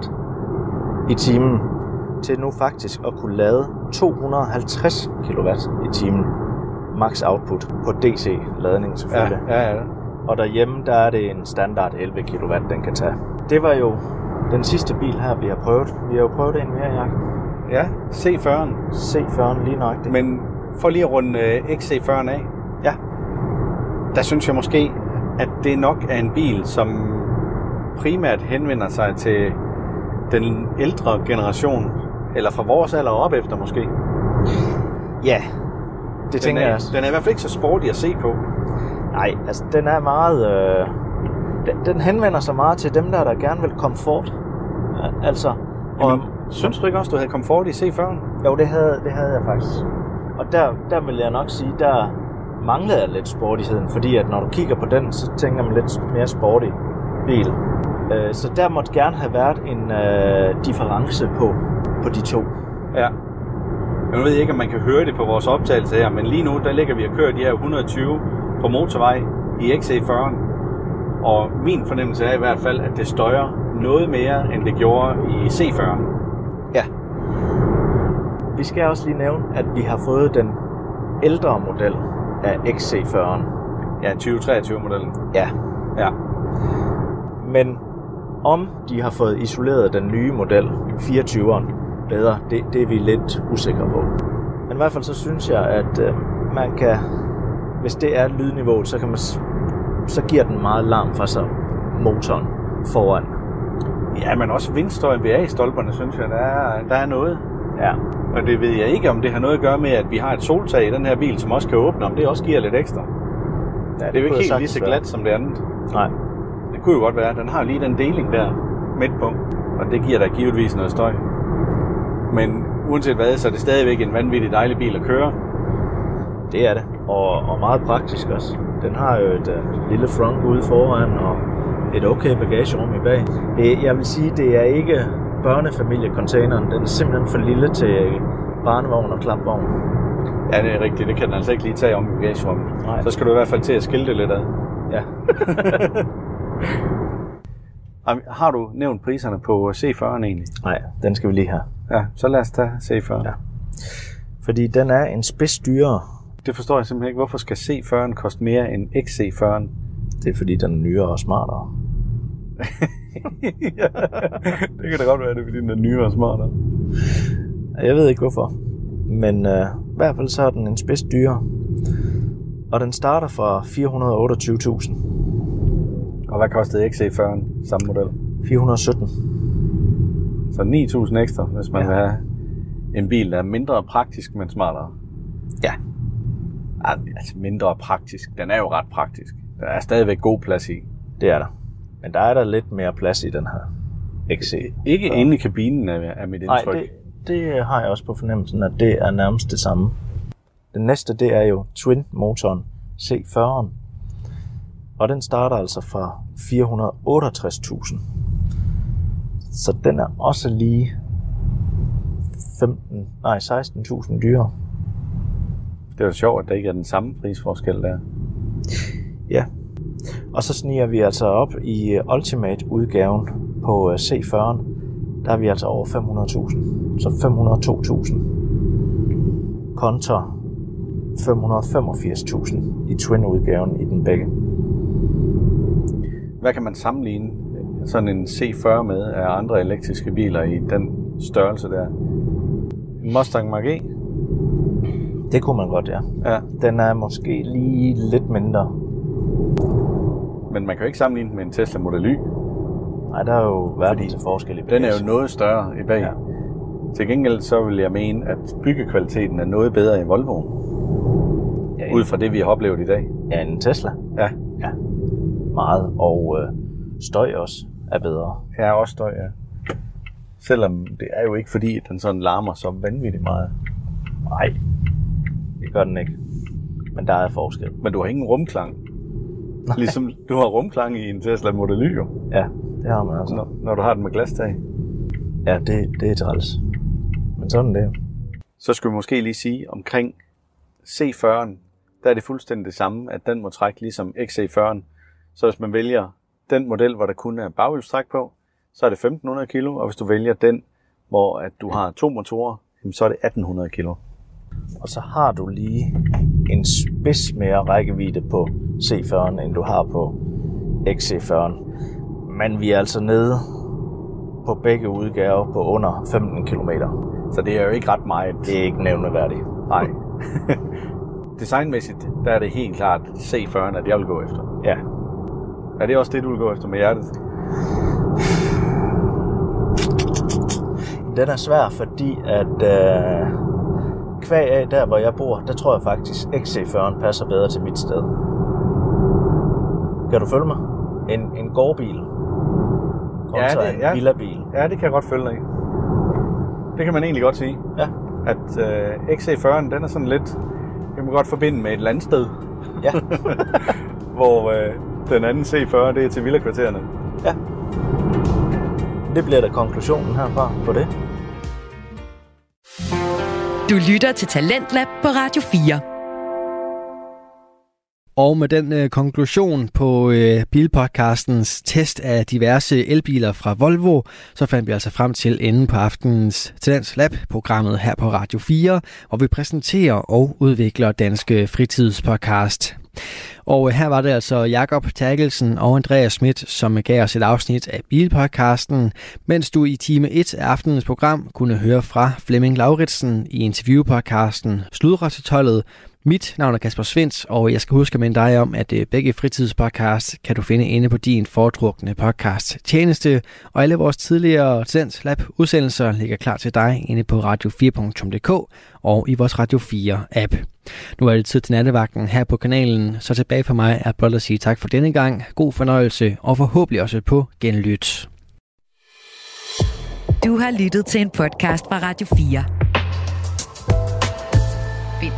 S10: i timen, til nu faktisk at kunne lade 250 kW i timen max output på DC-ladning selvfølgelig.
S2: ja, ja.
S10: Og derhjemme, der er det en standard 11 kW, den kan tage. Det var jo den sidste bil her, vi har prøvet. Vi har jo prøvet en mere, Jacob.
S2: Ja, C40'en.
S10: C40'en lige nøjagtigt.
S2: Men for lige at runde øh, XC40 af,
S10: ja,
S2: der synes jeg måske, at det nok er en bil, som primært henvender sig til den ældre generation, eller fra vores alder og op efter måske. Den
S10: ja, det tænker
S2: er,
S10: jeg også.
S2: den er i hvert fald ikke så sportig at se på.
S10: Nej, altså den er meget... Øh, den, den henvender sig meget til dem der, der gerne vil komfort. Ja, Altså, og,
S2: Jamen, synes du ikke også, du havde komfort i C40'en?
S10: jo, det havde, det havde jeg faktisk. Og der, der vil jeg nok sige, der manglede jeg lidt sportigheden, fordi at når du kigger på den, så tænker man lidt mere sportig bil. Øh, så der måtte gerne have været en øh, difference på, på de to.
S2: Ja. Jeg ved ikke, om man kan høre det på vores optagelse her, men lige nu, der ligger vi og kører de her 120 på motorvej i XC40'en. Og min fornemmelse er i hvert fald, at det støjer noget mere, end det gjorde i C40'en.
S10: Ja. Vi skal også lige nævne, at vi har fået den ældre model af XC40'eren.
S2: Ja, 2023-modellen.
S10: Ja,
S2: Ja.
S10: men om de har fået isoleret den nye model, 24'eren, bedre, det, det er vi lidt usikre på. Men i hvert fald så synes jeg, at øh, man kan, hvis det er lydniveauet, så, kan man, s- så giver den meget larm fra sig motoren foran.
S2: Ja, men også vindstøjen ved A-stolperne, synes jeg, der er, der er noget.
S3: Ja.
S2: Og det ved jeg ikke, om det har noget at gøre med, at vi har et soltag i den her bil, som også kan åbne, om det også giver lidt ekstra.
S3: ja
S2: Det er jo ikke
S3: kunne
S2: helt
S3: jeg
S2: lige
S3: sagtens
S2: så
S3: være.
S2: glat som det andet.
S3: Nej.
S2: Det kunne jo godt være. Den har lige den deling der midt på, og det giver da givetvis noget støj. Men uanset hvad, så er det stadigvæk en vanvittig dejlig bil at køre.
S3: Det er det. Og, og meget praktisk også. Den har jo et øh, lille frunk ude foran og et okay bagagerum i bag. Det, jeg vil sige, det er ikke børnefamiliecontaineren. Den er simpelthen for lille til øh, barnevogn og klapvogn.
S2: Ja, det er rigtigt. Det kan den altså ikke lige tage om i bagagerummet.
S3: Nej.
S2: Så skal du i hvert fald til at skille det lidt ad.
S3: Ja.
S2: Ej, Har du nævnt priserne på C40'eren egentlig?
S3: Nej, den skal vi lige have.
S2: Ja, så lad os tage C40. Ja.
S3: Ja. Fordi den er en spids dyrere.
S2: Det forstår jeg simpelthen ikke. Hvorfor skal C40'en koste mere end XC40'en?
S3: Det er fordi, den er nyere og smartere.
S2: ja, det kan da godt være, det er fordi den er nyere og smartere.
S3: Jeg ved ikke hvorfor. Men øh, i hvert fald så er den en spids dyrere. Og den starter fra 428.000.
S2: Og hvad kostede XC40'en samme model?
S3: 417.
S2: Så 9.000 ekstra, hvis man ja. vil have en bil, der er mindre praktisk, men smartere.
S3: Ja.
S2: Ej, Altså mindre praktisk. Den er jo ret praktisk. Der er stadigvæk god plads i.
S3: Det er der. Men der er der lidt mere plads i den her XC.
S2: Ikke inde i kabinen er, er mit
S3: Nej,
S2: indtryk.
S3: det, det har jeg også på fornemmelsen, at det er nærmest det samme. Den næste, det er jo Twin-motoren C40'eren. Og den starter altså fra 468.000. Så den er også lige 15, nej, 16.000 dyrere.
S2: det er jo sjovt, at der ikke er den samme prisforskel der.
S3: Ja. Og så sniger vi altså op i øh, Ultimate-udgaven på øh, C40'en. Der er vi altså over 500.000. Så 502.000. Kontra 585.000 i Twin-udgaven i den begge.
S2: Hvad kan man sammenligne sådan en C40 med af andre elektriske biler i den størrelse der? En Mustang Mach-E?
S3: Det kunne man godt, ja.
S2: Ja,
S3: Den er måske lige lidt mindre.
S2: men man kan jo ikke sammenligne den med en Tesla Model Y.
S3: Nej, der er jo verden
S2: Fordi
S3: til forskel i
S2: Den er
S3: bagage.
S2: jo noget større i bag. Ja.
S3: Ja.
S2: Til gengæld så vil jeg mene, at byggekvaliteten er noget bedre i Volvo,
S3: ja,
S2: ud fra det, vi har oplevet i dag.
S3: Ja, en Tesla.
S2: Ja,
S3: Ja. Meget. Og øh, støj også er bedre.
S2: jeg er også støj, ja. Selvom det er jo ikke fordi, at den sådan larmer så vanvittigt meget.
S3: Nej, det gør den ikke. Men der er forskel.
S2: Men du har ingen rumklang. Ligesom du har rumklang i en Tesla Model Y, jo,
S3: Ja, det har man altså.
S2: når, når du har den med glastag.
S3: Ja, det, det er træls. Men sådan er det. jo.
S2: Så skulle vi måske lige sige omkring C40'en, der er det fuldstændig det samme, at den må trække ligesom XC40'en. Så hvis man vælger den model, hvor der kun er baghjulstræk på, så er det 1500 kg, og hvis du vælger den, hvor at du har to motorer, jamen, så er det 1800 kg.
S3: Og så har du lige en spids mere rækkevidde på C40'en, end du har på XC40'en. Men vi er altså nede på begge udgaver på under 15 km.
S2: Så det er jo ikke ret meget.
S3: Det er ikke nævneværdigt.
S2: Nej. Designmæssigt, der er det helt klart C40'en, at jeg vil gå efter.
S3: Ja,
S2: Er det også det, du vil gå efter med hjertet?
S3: Den er svær, fordi at øh, kvæg af der, hvor jeg bor, der tror jeg faktisk, XC40 passer bedre til mit sted. Kan du følge mig? En, en gårdbil. Kontra
S2: det-
S3: en
S2: ja.
S3: villabil.
S2: Ja, det kan jeg godt følge dig i. Det kan man egentlig godt sige.
S3: Ja,
S2: at øh, XC40'en, den er sådan lidt, jeg må godt forbinde med et landsted,
S3: ja,
S2: hvor øh, den anden C40, det er til villakvartererne.
S3: ja. Det bliver da konklusionen herfra på det.
S7: Du lytter til Talentlab på Radio 4.
S8: Og med den øh, konklusion på øh, bilpodcastens test af diverse elbiler fra Volvo, så fandt vi altså frem til enden på aftenens Talents Lab-programmet her på Radio 4, hvor vi præsenterer og udvikler danske fritidspodcast. Og øh, her var det altså Jakob Terkelsen og Andreas Schmidt, som gav os et afsnit af Bilpodcasten, mens du i time 1 af aftenens program kunne høre fra Flemming Lauritsen i interviewpodcasten Sludretøjlet Mit navn er Kasper Svens, og jeg skal huske at minde dig om, at øh, begge fritidspodcasts kan du finde inde på din foretrukne podcast tjeneste, og alle vores tidligere Tendens Lab udsendelser ligger klar til dig inde på radio4.dk og i vores Radio 4 app. Nu er det tid til nattevagten her på kanalen, så tilbage for mig er blot at sige tak for denne gang, god fornøjelse og forhåbentlig også på genlyt.
S7: Du har lyttet til en podcast fra Radio 4. Find